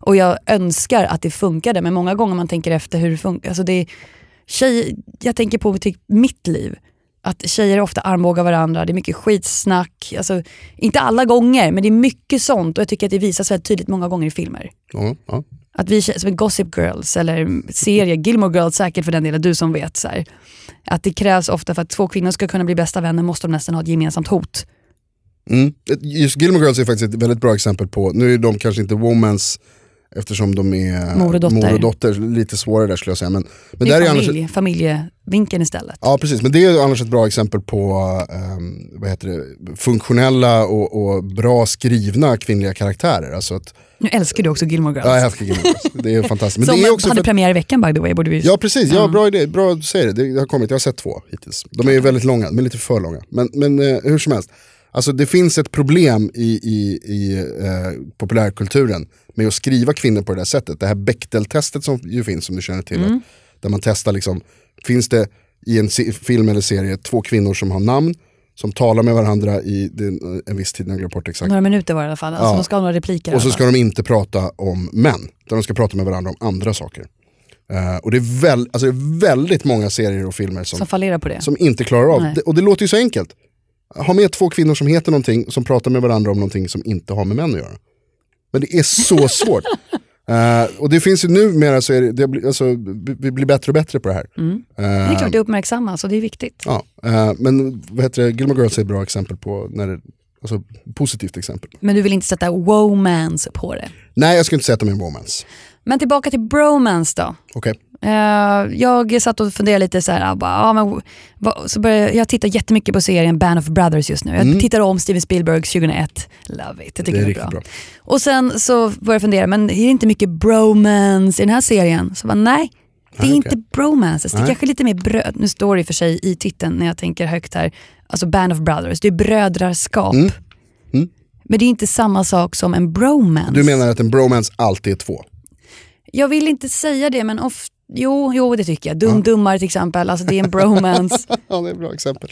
Speaker 4: Och jag önskar att det funkade, men många gånger man tänker efter hur det funkar. Alltså, det är, tjej, jag tänker på typ mitt liv. Att tjejer ofta armbågar varandra, det är mycket skitsnack. Alltså, inte alla gånger, men det är mycket sånt och jag tycker att det visas väldigt tydligt många gånger i filmer.
Speaker 3: Ja, ja.
Speaker 4: Att vi tjejer- som är Gossip Girls eller serier, Gilmore Girls säkert för den delen, du som vet. Så här, att det krävs ofta för att två kvinnor ska kunna bli bästa vänner måste de nästan ha ett gemensamt hot.
Speaker 3: Mm. Just Gilmore Girls är faktiskt ett väldigt bra exempel på, nu är de kanske inte womans eftersom de är
Speaker 4: Mor och dotter.
Speaker 3: dotter, lite svårare där skulle jag säga. Men, men
Speaker 4: Det
Speaker 3: där
Speaker 4: är
Speaker 3: är annars,
Speaker 4: familj, familjevinkeln istället.
Speaker 3: ja, precis, men det är ju annars ett bra exempel på ehm, vad heter det, funktionella och, och bra skrivna kvinnliga karaktärer. Alltså att,
Speaker 4: Nu älskar du också Gilmore Girls.
Speaker 3: ja, jag älskar Gilmore Girls, det är fantastiskt. Men
Speaker 4: som
Speaker 3: det är också
Speaker 4: hade
Speaker 3: för att,
Speaker 4: premiär i veckan by the way. Borde vi...
Speaker 3: ja precis, ja, bra idé, bra att du säger det. det, det har kommit, jag har sett två hittills. De är ju väldigt långa, men lite för långa. Men, men eh, hur som helst, alltså, det finns ett problem i, i, i eh, populärkulturen med att skriva kvinnor på det där sättet. Det här Bechdel-testet som ju finns, som du känner till, att, där man testar liksom, finns det i en se- film eller serie två kvinnor som har namn, som talar med varandra i det är en, en viss tid, när jag glömmer bort exakt.
Speaker 4: Några minuter var det i alla fall. Alltså,
Speaker 3: Ja.
Speaker 4: De ska ha några repliker.
Speaker 3: Och så
Speaker 4: alla.
Speaker 3: ska de inte prata om män, utan de ska prata med varandra om andra saker. Eh, och det är, väl, alltså det är väldigt många serier och filmer som,
Speaker 4: Som
Speaker 3: som,
Speaker 4: fallerar på det.
Speaker 3: inte klarar av
Speaker 4: Nej.
Speaker 3: det. Och det låter ju så enkelt. Ha med två kvinnor som heter någonting, som pratar med varandra om någonting som inte har med män att göra. Men det är så svårt. Eh, och det finns ju numera, så är det, det blir, alltså, vi vi blir bättre och bättre på det här.
Speaker 4: Det är klart det uppmärksammas och det är viktigt.
Speaker 3: Ja, eh, men vad heter det, Gilmore Girls är ett bra exempel på, när det, alltså positivt exempel.
Speaker 4: Men du vill inte sätta womance på det.
Speaker 3: Nej, jag skulle inte säga att de är en romance.
Speaker 4: Men tillbaka till bromance då.
Speaker 3: Okej,
Speaker 4: Eh, jag satt och funderade lite så här, ah, bara, ah, men, vad- så började, jag- jag tittar jättemycket på serien Band of Brothers just nu. Jag tittar om Steven Spielbergs 2001, love it. Jag tycker
Speaker 3: Mm. det
Speaker 4: det
Speaker 3: är
Speaker 4: är,
Speaker 3: riktigt
Speaker 4: bra.
Speaker 3: bra.
Speaker 4: Och sen så började jag fundera, men är det inte mycket bromance i den här serien? Så jag bara, nej, det är
Speaker 3: Nej,
Speaker 4: inte
Speaker 3: okej.
Speaker 4: bromance. Det är
Speaker 3: Nej.
Speaker 4: kanske lite mer bröd, nu står det i och för sig i titeln när jag tänker högt här, alltså Band of Brothers, det är brödraskap.
Speaker 3: Mm.
Speaker 4: Men det är inte samma sak som en bromance.
Speaker 3: Du menar att en bromance alltid är två?
Speaker 4: Jag vill inte säga det men of, jo, jo det tycker jag. Dum Dummar till exempel, alltså det är en bromance.
Speaker 3: Ja, det är ett bra exempel.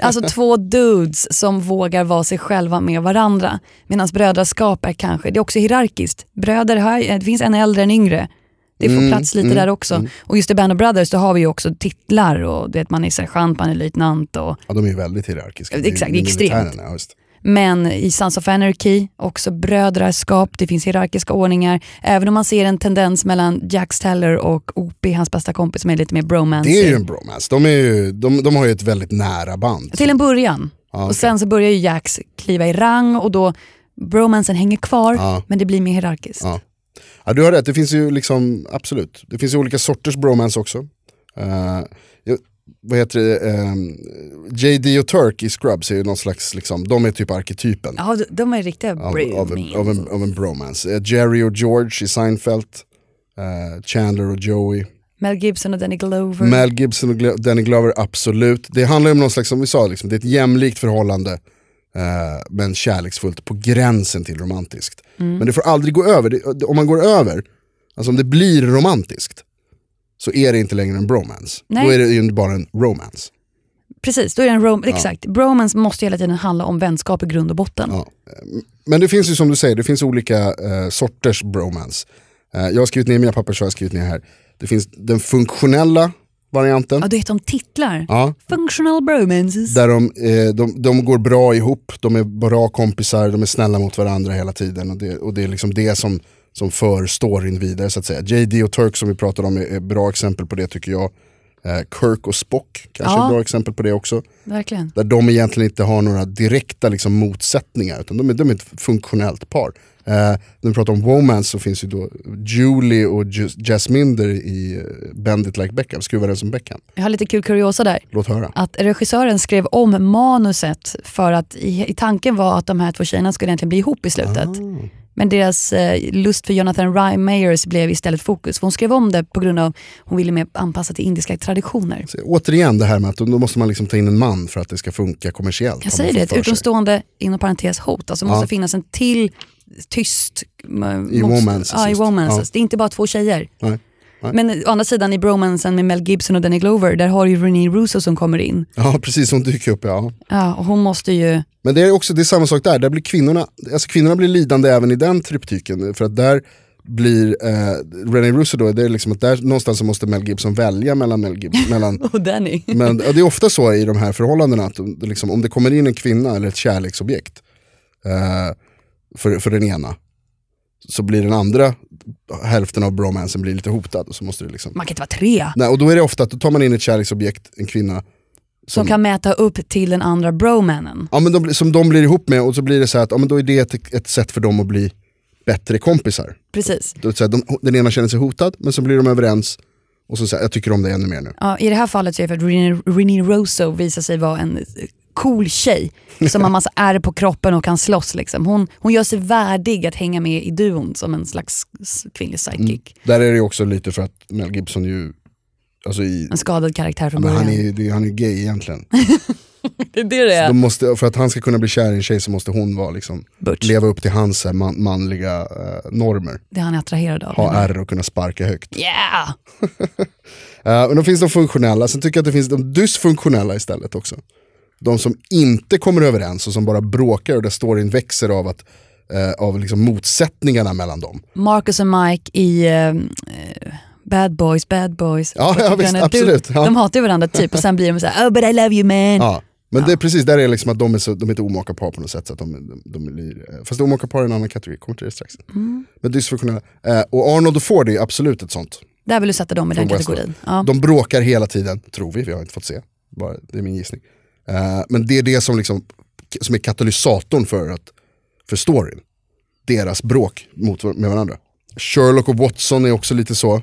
Speaker 4: Alltså två dudes som vågar vara sig själva med varandra. Medan brödraskap är kanske, det är också hierarkiskt. Bröder, här, eh, det finns en äldre, en yngre. Det får plats lite där också. Och just i Band of Brothers då har vi ju också titlar och du vet, man är sergeant, man är löjtnant. Och,
Speaker 3: Ja, de är ju väldigt hierarkiska.
Speaker 4: Exakt,
Speaker 3: Det är ju
Speaker 4: extremt.
Speaker 3: militären, Ja, just.
Speaker 4: men i Sons of Anarchy också brödraskap, det finns hierarkiska ordningar. Även om man ser en tendens mellan Jack Steller och Opie, hans bästa kompis som är lite mer bromance.
Speaker 3: Det är ju en bromance. De, är ju, de, de har ju ett väldigt nära band.
Speaker 4: Till en början. Och
Speaker 3: okej.
Speaker 4: sen så börjar ju Jax kliva i rang och då bromansen hänger kvar men det blir mer hierarkiskt.
Speaker 3: Ja. Ja, du har rätt, det finns ju liksom, absolut. Det finns ju olika sorters bromance också. Eh, jag- vad heter det, Ehm, JD och Turk i Scrubs är ju någon slags, liksom, de är typ arketypen.
Speaker 4: Ja, de- de är riktiga
Speaker 3: av, av, en,
Speaker 4: bromance.
Speaker 3: av, en, av en bromance. Eh, Jerry och George i Seinfeld, eh, Chandler och Joey.
Speaker 4: Mel Gibson och Danny Glover.
Speaker 3: Mel Gibson och Glo- Danny Glover, absolut. Det handlar ju om någon slags, som vi sa, liksom, det är ett jämlikt förhållande eh, men kärleksfullt på gränsen till romantiskt.
Speaker 4: Mm.
Speaker 3: Men det får aldrig gå över, det, om man går över, alltså om det blir romantiskt, så är det inte längre en bromance.
Speaker 4: Nej.
Speaker 3: Då är det ju bara en romance.
Speaker 4: Precis, då är det en rom- exakt. Bromance måste hela tiden handla om vänskap i grund och botten.
Speaker 3: Ja. Men det finns ju som du säger, det finns olika eh, sorters bromance. Eh, jag har skrivit ner i mina papper så har jag skrivit ner här. Det finns den funktionella varianten.
Speaker 4: Ja, du vet de titlar.
Speaker 3: Ja,
Speaker 4: Functional bromances.
Speaker 3: Där de, eh, de, de går bra ihop, de är bra kompisar, de är snälla mot varandra hela tiden. Och det, och det är liksom det som, som för storyn vidare så att säga. JD och Turk som vi pratade om är, är bra exempel på det tycker jag. Eh, Kirk och Spock kanske
Speaker 4: Ja.
Speaker 3: ett bra exempel på det också.
Speaker 4: Verkligen.
Speaker 3: Där de egentligen inte har några direkta liksom, motsättningar, utan de är, de är ett funktionellt par. Eh, när vi pratar om romance så finns ju då Julie och Ju- Jasminder i eh, Bend it like Beckham, skruva den som Beckham.
Speaker 4: Jag har lite kul kuriosa där.
Speaker 3: Låt höra.
Speaker 4: Att regissören skrev om manuset för att i, i tanken var att de här två tjejerna skulle egentligen bli ihop i slutet.
Speaker 3: Ah.
Speaker 4: Men deras eh, lust för Jonathan Ryan Mayers blev istället fokus. För hon skrev om det på grund av hon ville mer anpassa till indiska traditioner.
Speaker 3: Så, återigen det här med att då då måste man liksom ta in en man för att det ska funka kommersiellt. har
Speaker 4: Jag
Speaker 3: man
Speaker 4: säger
Speaker 3: fått
Speaker 4: det, ett
Speaker 3: för sig.
Speaker 4: utomstående inom parentes hot. Alltså det måste finnas en till tyst... I
Speaker 3: romances
Speaker 4: Ja, i
Speaker 3: just.
Speaker 4: romances.
Speaker 3: Ja.
Speaker 4: Det är inte bara två tjejer.
Speaker 3: Nej. Nej.
Speaker 4: Men eh, å andra sidan i bromansen med Mel Gibson och Danny Glover, där har ju Renée Russo som kommer in.
Speaker 3: Ja, precis, hon dyker upp. Ja.
Speaker 4: Ja, och hon måste ju...
Speaker 3: Men det är också det är samma sak där, där blir kvinnorna, alltså kvinnorna blir lidande även i den triptyken. För att där blir eh, René Russo då, det är liksom att där någonstans så måste Mel Gibson välja mellan Mel
Speaker 4: (laughs)
Speaker 3: Gibson, mellan
Speaker 4: (laughs) Och Danny.
Speaker 3: men ja, det är ofta så i de här förhållandena att de- liksom, om det kommer in en kvinna eller ett kärleksobjekt eh, för, för den ena så blir den andra hälften av bromansen blir lite hotad. Och, så måste det liksom...
Speaker 4: Man kan inte vara tre.
Speaker 3: Nej, och då är det ofta att då tar man in ett kärleksobjekt, en kvinna, Mm.
Speaker 4: Som kan mäta upp till den andra bromannen.
Speaker 3: ja, men de, blir- som de blir ihop med och så blir det så här att ja, men då är det ett, ett sätt för dem att bli bättre kompisar.
Speaker 4: Precis.
Speaker 3: Då, är det så här, de, den ena känner sig hotad men så blir de överens och så säger jag tycker om dig ännu mer nu.
Speaker 4: Ja, I det här fallet så är det för att Renée- Renée Rosso visar sig vara en eh, cool tjej som har massa ärr på kroppen och kan slåss. Liksom. Hon, hon gör sig värdig att hänga med i duon som en slags s- kvinnlig psychic.
Speaker 3: Där är det ju också lite för att Mel Gibson ju, alltså i,
Speaker 4: En skadad karaktär från
Speaker 3: men
Speaker 4: början.
Speaker 3: han är ju det- han är ju gay egentligen.
Speaker 4: Det är det det
Speaker 3: De
Speaker 4: är.
Speaker 3: måste, för att han ska kunna bli kär i en tjej så måste hon vara liksom,
Speaker 4: Butch.
Speaker 3: leva upp till hans eh, man, manliga eh, normer.
Speaker 4: Det han är attraherad av.
Speaker 3: Ha ärr och kunna sparka högt.
Speaker 4: Yeah!
Speaker 3: Eh, men då finns de funktionella, sen tycker jag att det finns de dysfunktionella istället också. De som inte kommer överens och som bara bråkar och där storyn växer av, att, eh, av liksom motsättningarna mellan dem.
Speaker 4: Marcus och Mike i ehm, eh, Bad Boys, Bad Boys.
Speaker 3: Ja, ja, visst,
Speaker 4: Du-
Speaker 3: absolut, ja.
Speaker 4: De hatar ju varandra typ och sen blir de så här, oh but I love you man.
Speaker 3: Ja. Men det är precis, där är det liksom att de är, så, de är inte omaka par på något sätt. Så att de, de, de blir, eh, fast omaka par är en annan kategori, kommer till det strax. Men dysfunktionella. Eh, och Arnold och Ford är absolut ett sånt.
Speaker 4: Där vill du sätta dem i den
Speaker 3: Från Westworld.
Speaker 4: kategorin. Ja.
Speaker 3: De bråkar hela tiden, tror vi, vi har inte fått se. Bara, det är min gissning. Eh, men det är det som, liksom, som är katalysatorn för, att, för storyn. Deras bråk mot, med varandra. Sherlock och Watson är också lite så.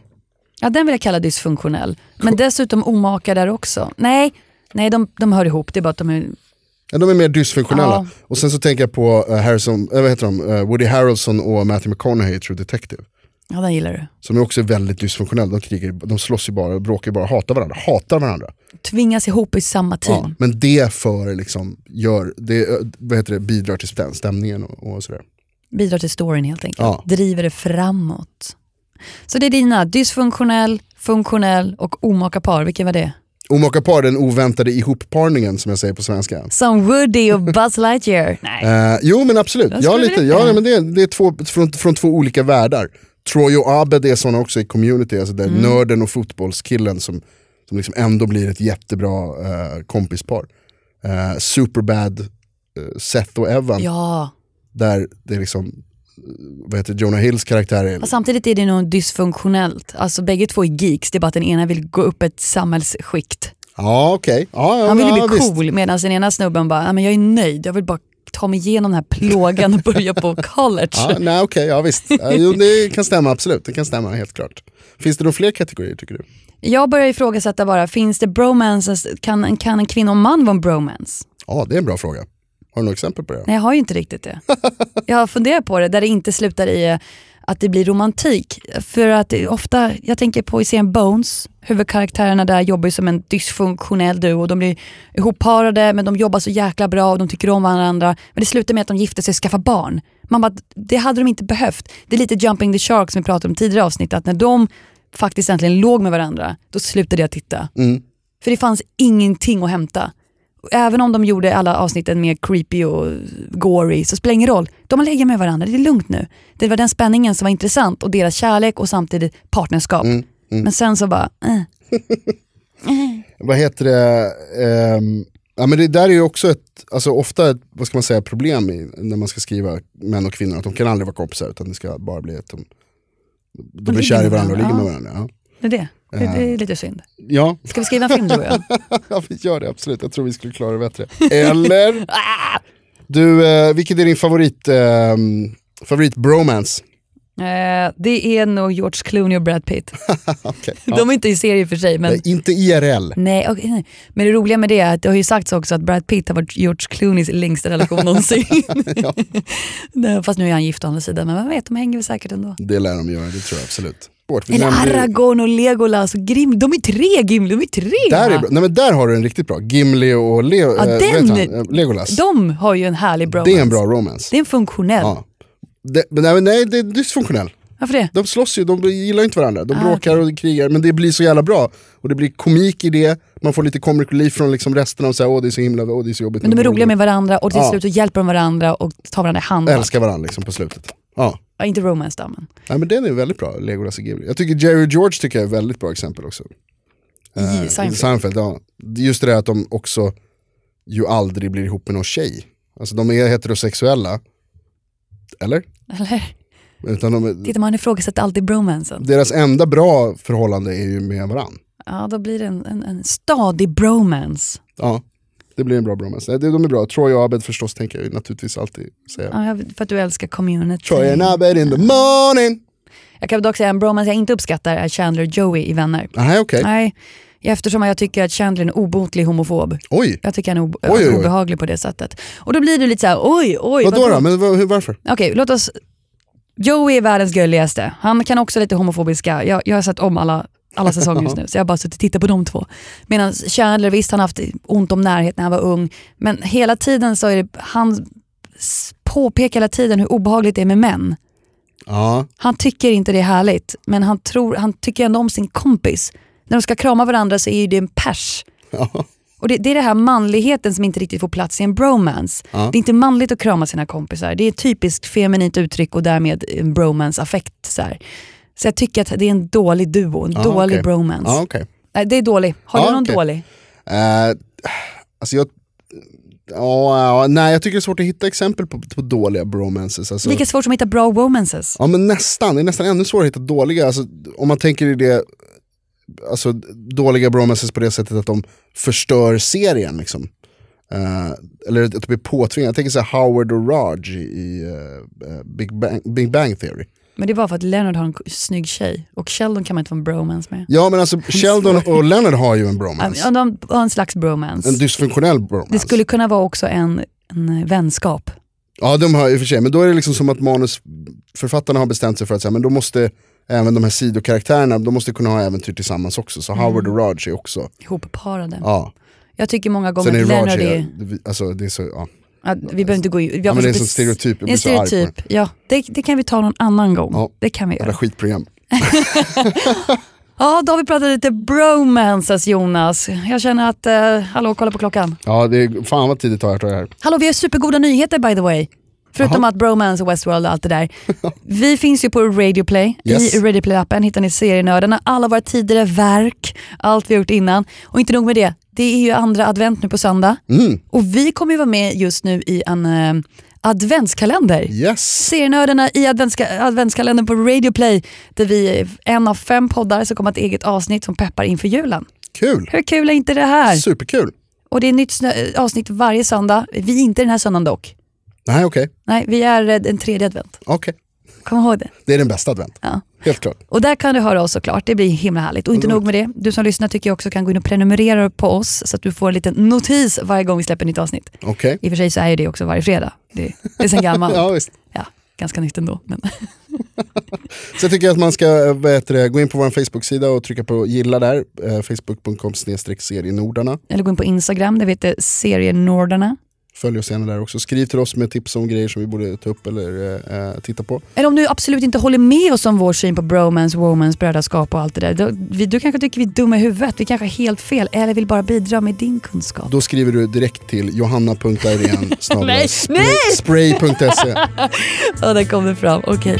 Speaker 4: Ja, den vill jag kalla dysfunktionell. Men dessutom omaka där också. Nej, nej de, de hör ihop. Det är bara att de är...
Speaker 3: Ja, De är mer dysfunktionella.
Speaker 4: Ja.
Speaker 3: Och sen så tänker jag på eh, Harrison, äh, vad heter de? Eh, Woody Harrelson och Matthew McConaughey i True Detective.
Speaker 4: Ja, den gillar du.
Speaker 3: Som är också väldigt dysfunktionella. De, krigar, ju- de slåss ju bara, bråkar ju bara, hatar varandra. Hatar varandra.
Speaker 4: Tvingas ihop i samma team.
Speaker 3: Ja, men det för liksom, gör, det, eh, vad heter det, bidrar till stäm- stämningen och, och sådär.
Speaker 4: Bidrar till storyn helt enkelt.
Speaker 3: Ja.
Speaker 4: Driver det framåt. Så det är dina, dysfunktionell, funktionell och omaka par. Vilken var det?
Speaker 3: Omaka par, den oväntade ihopparningen som jag säger på svenska.
Speaker 4: Som Woody och Buzz Lightyear. (laughs) Nej.
Speaker 3: Eh, jo men absolut,
Speaker 4: Jag
Speaker 3: ja,
Speaker 4: skulle
Speaker 3: lite,
Speaker 4: vilja-
Speaker 3: ja, nej, men det, det är två, från, från två olika världar. Troy och Abed är sådana också i community, alltså där
Speaker 4: Mm.
Speaker 3: nörden och fotbollskillen som, som liksom ändå blir ett jättebra eh, kompispar. Eh, Superbad, eh, Seth och Evan,
Speaker 4: Ja,
Speaker 3: där det är liksom, eh, vad heter det, Jonah Hills karaktär är,
Speaker 4: Fast samtidigt är det nog dysfunktionellt. Alltså bägge två är geeks, det är bara att den ena vill gå upp ett samhällsskikt.
Speaker 3: ja okej, ja, ja,
Speaker 4: Han vill ju
Speaker 3: ja,
Speaker 4: bli
Speaker 3: visst.
Speaker 4: cool medan den ena snubben bara, "Ja, men jag är nöjd, jag vill bara ta mig igenom den här plågan och
Speaker 3: (laughs)
Speaker 4: börja på college.
Speaker 3: Ja, nej okej, ja visst. Eh, jo, det kan stämma absolut, det kan stämma helt klart. Finns det några fler kategorier tycker du?
Speaker 4: Jag börjar ifrågasätta bara, finns det bromances, kan, kan en kvinna och man vara en bromance?
Speaker 3: Ja, det är en bra fråga. Har du några exempel på det?
Speaker 4: Nej jag har ju inte riktigt det. Jag har funderat på det, där det inte slutar i eh, att det blir romantik. För att det är ofta, jag tänker på i serien Bones, huvudkaraktärerna där jobbar ju som en dysfunktionell duo. De blir ihopparade men de jobbar så jäkla bra och de tycker om varandra. Men det slutar med att de gifter sig och skaffar barn. Man bara, det hade de inte behövt. Det är lite jumping the shark som vi pratade om tidigare avsnitt, att när de faktiskt äntligen låg med varandra, då slutade jag titta. För det fanns ingenting att hämta. Även om de gjorde alla avsnitten mer creepy och gory så spelar det ingen roll. De har legat med varandra, det är lugnt nu. Det var den spänningen som var intressant och deras kärlek och samtidigt partnerskap.
Speaker 3: Mm,
Speaker 4: Men sen så bara, eh.
Speaker 3: Vad heter det? Ehm, ja, men det där är ju också ett, alltså ofta ett vad ska man säga, problem i, när man ska skriva män och kvinnor. Att de kan aldrig vara kompisar utan det ska bara bli att de, de blir
Speaker 4: ligger
Speaker 3: kära i
Speaker 4: med
Speaker 3: varandra och ligger med
Speaker 4: varandra,
Speaker 3: varandra. Ja.
Speaker 4: det är det. Det, det är lite synd.
Speaker 3: Ja,
Speaker 4: Ska vi skriva en film du och jag?
Speaker 3: (laughs) ja, vi gör det absolut. Jag tror vi skulle klara det (laughs) bättre. Eller? du, eh, vilket är din favorit, eh, favorit bromance?
Speaker 4: Eh, det är nog George Clooney och Brad Pitt.
Speaker 3: (laughs) Okej, ja.
Speaker 4: De är inte i serie för sig men...
Speaker 3: Nej, inte E IRL.
Speaker 4: Nej, okej, nej. Men det roliga med det är att det har ju sagts också att Brad Pitt har varit George Clooneys längsta relation någonsin.
Speaker 3: (laughs) Ja.
Speaker 4: (laughs) Nej, Fast nu är han gift å andra sidan, men vem vet, de hänger väl säkert ändå.
Speaker 3: Det lär de göra, det tror jag absolut. Bort. Vi
Speaker 4: Eller
Speaker 3: nämnde ju-
Speaker 4: Aragorn och Legolas och Gimli, de är tre Gimli, de är tre!
Speaker 3: Där, är
Speaker 4: va?
Speaker 3: bra. Nej, men där har du en riktigt bra. Gimli och Le- eh, vad heter
Speaker 4: den-
Speaker 3: han? Eh, Legolas.
Speaker 4: De har ju en härlig bromance.
Speaker 3: Det är en bra romance.
Speaker 4: Det är en funktionell.
Speaker 3: Ja. Det, men nej, men nej, det är dysfunktionell.
Speaker 4: Varför det?
Speaker 3: De slåss ju, de gillar ju inte varandra.
Speaker 4: Ah,
Speaker 3: De bråkar och krigar, men det blir så jävla bra. Och det blir komik i det, man får lite comic relief från liksom resten av så här, åh det är så himla, åh det är så jobbigt.
Speaker 4: Men de är roliga med varandra och till
Speaker 3: Ja.
Speaker 4: slut så hjälper de varandra och tar varandra i hand.
Speaker 3: Älskar varandra liksom på slutet. Ja.
Speaker 4: Ja, inte romance då, men.
Speaker 3: Nej, men den är väldigt bra, Legolas och Gimli. Jag tycker Jerry och George tycker jag är ett väldigt bra exempel också.
Speaker 4: I
Speaker 3: Eh,
Speaker 4: Seinfeld.
Speaker 3: Seinfeld ja. Just det där att de också ju aldrig blir ihop med någon tjej. Alltså de är heterosexuella. Eller?
Speaker 4: Eller?
Speaker 3: Utan de,
Speaker 4: Titta, man ifrågasätter alltid bromansen.
Speaker 3: deras enda bra förhållande är ju med varandra.
Speaker 4: Ja, då blir det en, en, en stadig bromance.
Speaker 3: Ja, det blir en bra bromance. Nej, det- De är bra. Troy och Abed förstås tänker jag ju naturligtvis alltid säga.
Speaker 4: Ja, jag- för att du älskar community.
Speaker 3: Troy and Abed in the morning.
Speaker 4: Jag kan dock säga en bromance jag inte uppskattar är Chandler och Joey i Vänner.
Speaker 3: Nej, okej.
Speaker 4: Nej, eftersom jag tycker att Chandler är en obotlig homofob.
Speaker 3: Oj.
Speaker 4: Jag tycker han är ob-
Speaker 3: Oj, oj, oj.
Speaker 4: obehaglig på det sättet. Och då blir du lite så här: oj, oj.
Speaker 3: Vadå då? Men vad- hur- varför?
Speaker 4: Okej, låt oss... Joey är världens gulligaste. Han kan också lite homofobiska. Jag, jag har sett om alla, alla
Speaker 3: (laughs)
Speaker 4: säsonger just nu, så jag har bara suttit och tittat på de två. Medan Chandler, visst han har haft ont om närhet när han var ung, men hela tiden så är det, han s- påpekar hela tiden hur obehagligt det är med män.
Speaker 3: Ja, (laughs)
Speaker 4: Han tycker inte det är härligt, men han, tror, han tycker ändå om sin kompis. När de ska krama varandra så är ju det en pers.
Speaker 3: ja.
Speaker 4: Och det, det är det här manligheten som inte riktigt får plats i en bromance. Det är inte manligt att krama sina kompisar. Det är ett typiskt feminint uttryck och därmed en bromance-affekt. Så, här. så jag tycker att det är en dålig duo, en dålig
Speaker 3: okej.
Speaker 4: bromance.
Speaker 3: ja okej.
Speaker 4: Nej, det är dålig. Har
Speaker 3: Ja,
Speaker 4: du någon
Speaker 3: okej.
Speaker 4: dålig?
Speaker 3: Eh, alltså jag... Ja, ja, nej, jag tycker det är svårt att hitta exempel på, på dåliga bromances. Alltså.
Speaker 4: Lika svårt som att hitta bra womances.
Speaker 3: Ja men nästan, det är nästan ännu svårare att hitta dåliga. Alltså, om man tänker i det, alltså dåliga bromances på det sättet att de förstör serien liksom. Eh, eller att de blir påtvingade. Jag tänker så här Howard och Raj i, i eh, Big, Bang, Big Bang Theory.
Speaker 4: Men det är bara för att Leonard har en k- snygg tjej och Sheldon kan man inte få en bromance med.
Speaker 3: Ja men alltså Sheldon och Leonard har ju en
Speaker 4: Ja,
Speaker 3: bromance.
Speaker 4: de har en slags bromance.
Speaker 3: En dysfunktionell
Speaker 4: Det
Speaker 3: bromance.
Speaker 4: skulle kunna vara också en, en vänskap.
Speaker 3: Ja de har i och för sig, men då är det liksom som att manusförfattarna har bestämt sig för att säga, men då måste även de här sidokaraktärerna, de måste kunna ha äventyr tillsammans också.
Speaker 4: Mm.
Speaker 3: Så Howard och Raj är också,
Speaker 4: Ihopparade.
Speaker 3: ja.
Speaker 4: Jag tycker många gånger
Speaker 3: Sen är
Speaker 4: att
Speaker 3: Raj,
Speaker 4: Leonard
Speaker 3: är,
Speaker 4: är...
Speaker 3: alltså det är så, ja.
Speaker 4: Att vi behöver inte gå in...
Speaker 3: Ja, men det är en
Speaker 4: precis-
Speaker 3: sån stereotyp, jag
Speaker 4: Det är
Speaker 3: blir
Speaker 4: en
Speaker 3: så arg på
Speaker 4: stereotyp, ja. Det, det kan vi ta någon annan gång.
Speaker 3: Ja.
Speaker 4: Det kan vi
Speaker 3: Jävla
Speaker 4: göra.
Speaker 3: skitprogram.
Speaker 4: Ja, då har vi pratat lite bromances Jonas. Jag känner att, eh, hallå kolla på klockan.
Speaker 3: Ja, det är, fan vad tid det tar att göra det här.
Speaker 4: Hallå, vi har supergoda nyheter by the way. Förutom att bromance och Westworld och allt
Speaker 3: (laughs)
Speaker 4: det där. Vi finns ju på Radio Play.
Speaker 3: Yes.
Speaker 4: I Radio Play-appen hittar ni serienördarna, alla våra tidigare verk, allt vi har gjort innan. Och inte nog med det, det är ju andra advent nu på söndag.
Speaker 3: Mm.
Speaker 4: Och vi kommer ju vara med just nu i en eh, adventskalender.
Speaker 3: Yes!
Speaker 4: Serienördarna i adventska, adventskalendern på Radio Play där vi är en av fem poddar som kommer ha ett eget avsnitt som peppar inför julen.
Speaker 3: Kul!
Speaker 4: Hur kul är inte det här?
Speaker 3: Superkul!
Speaker 4: Och det är ett nytt snö- eh, avsnitt varje söndag. Vi är inte den här söndagen dock.
Speaker 3: Nej okej,
Speaker 4: Nej, vi är eh, den tredje advent.
Speaker 3: okej.
Speaker 4: Kom ihåg det.
Speaker 3: Det är den bästa advent.
Speaker 4: Ja.
Speaker 3: Helt klart.
Speaker 4: Och där kan du höra oss såklart, det blir himla härligt. Och inte
Speaker 3: Mm.
Speaker 4: nog med det, du som lyssnar tycker jag också kan gå in och prenumerera på oss så att du får en liten notis varje gång vi släpper nytt avsnitt.
Speaker 3: Okej.
Speaker 4: I och för sig så är ju det också varje fredag, det, det
Speaker 3: (laughs)
Speaker 4: är sen gammalt.
Speaker 3: Ja, visst.
Speaker 4: ja, ganska nytt ändå. Men.
Speaker 3: Så jag tycker att man ska eh, vad heter det, gå in på vår Facebook-sida och trycka på gilla där. Eh, Facebook.com snedstreck serienordarna.
Speaker 4: Eller gå in på Instagram, det heter serienordarna.
Speaker 3: Följ oss gärna där också. Skriv till oss med tips om grejer som vi borde ta upp eller eh, eh, titta på.
Speaker 4: Eller om du absolut inte håller med oss om vår syn på bromance, womans, brödraskap och allt det där. Då, vi, du kanske tycker vi är dumma i huvudet, vi kanske har helt fel eller vill bara bidra med din kunskap.
Speaker 3: Då skriver du direkt till johanna.irén
Speaker 4: (laughs) Nej, nej!
Speaker 3: spray.se.
Speaker 4: Ja, där kom det fram. Okej.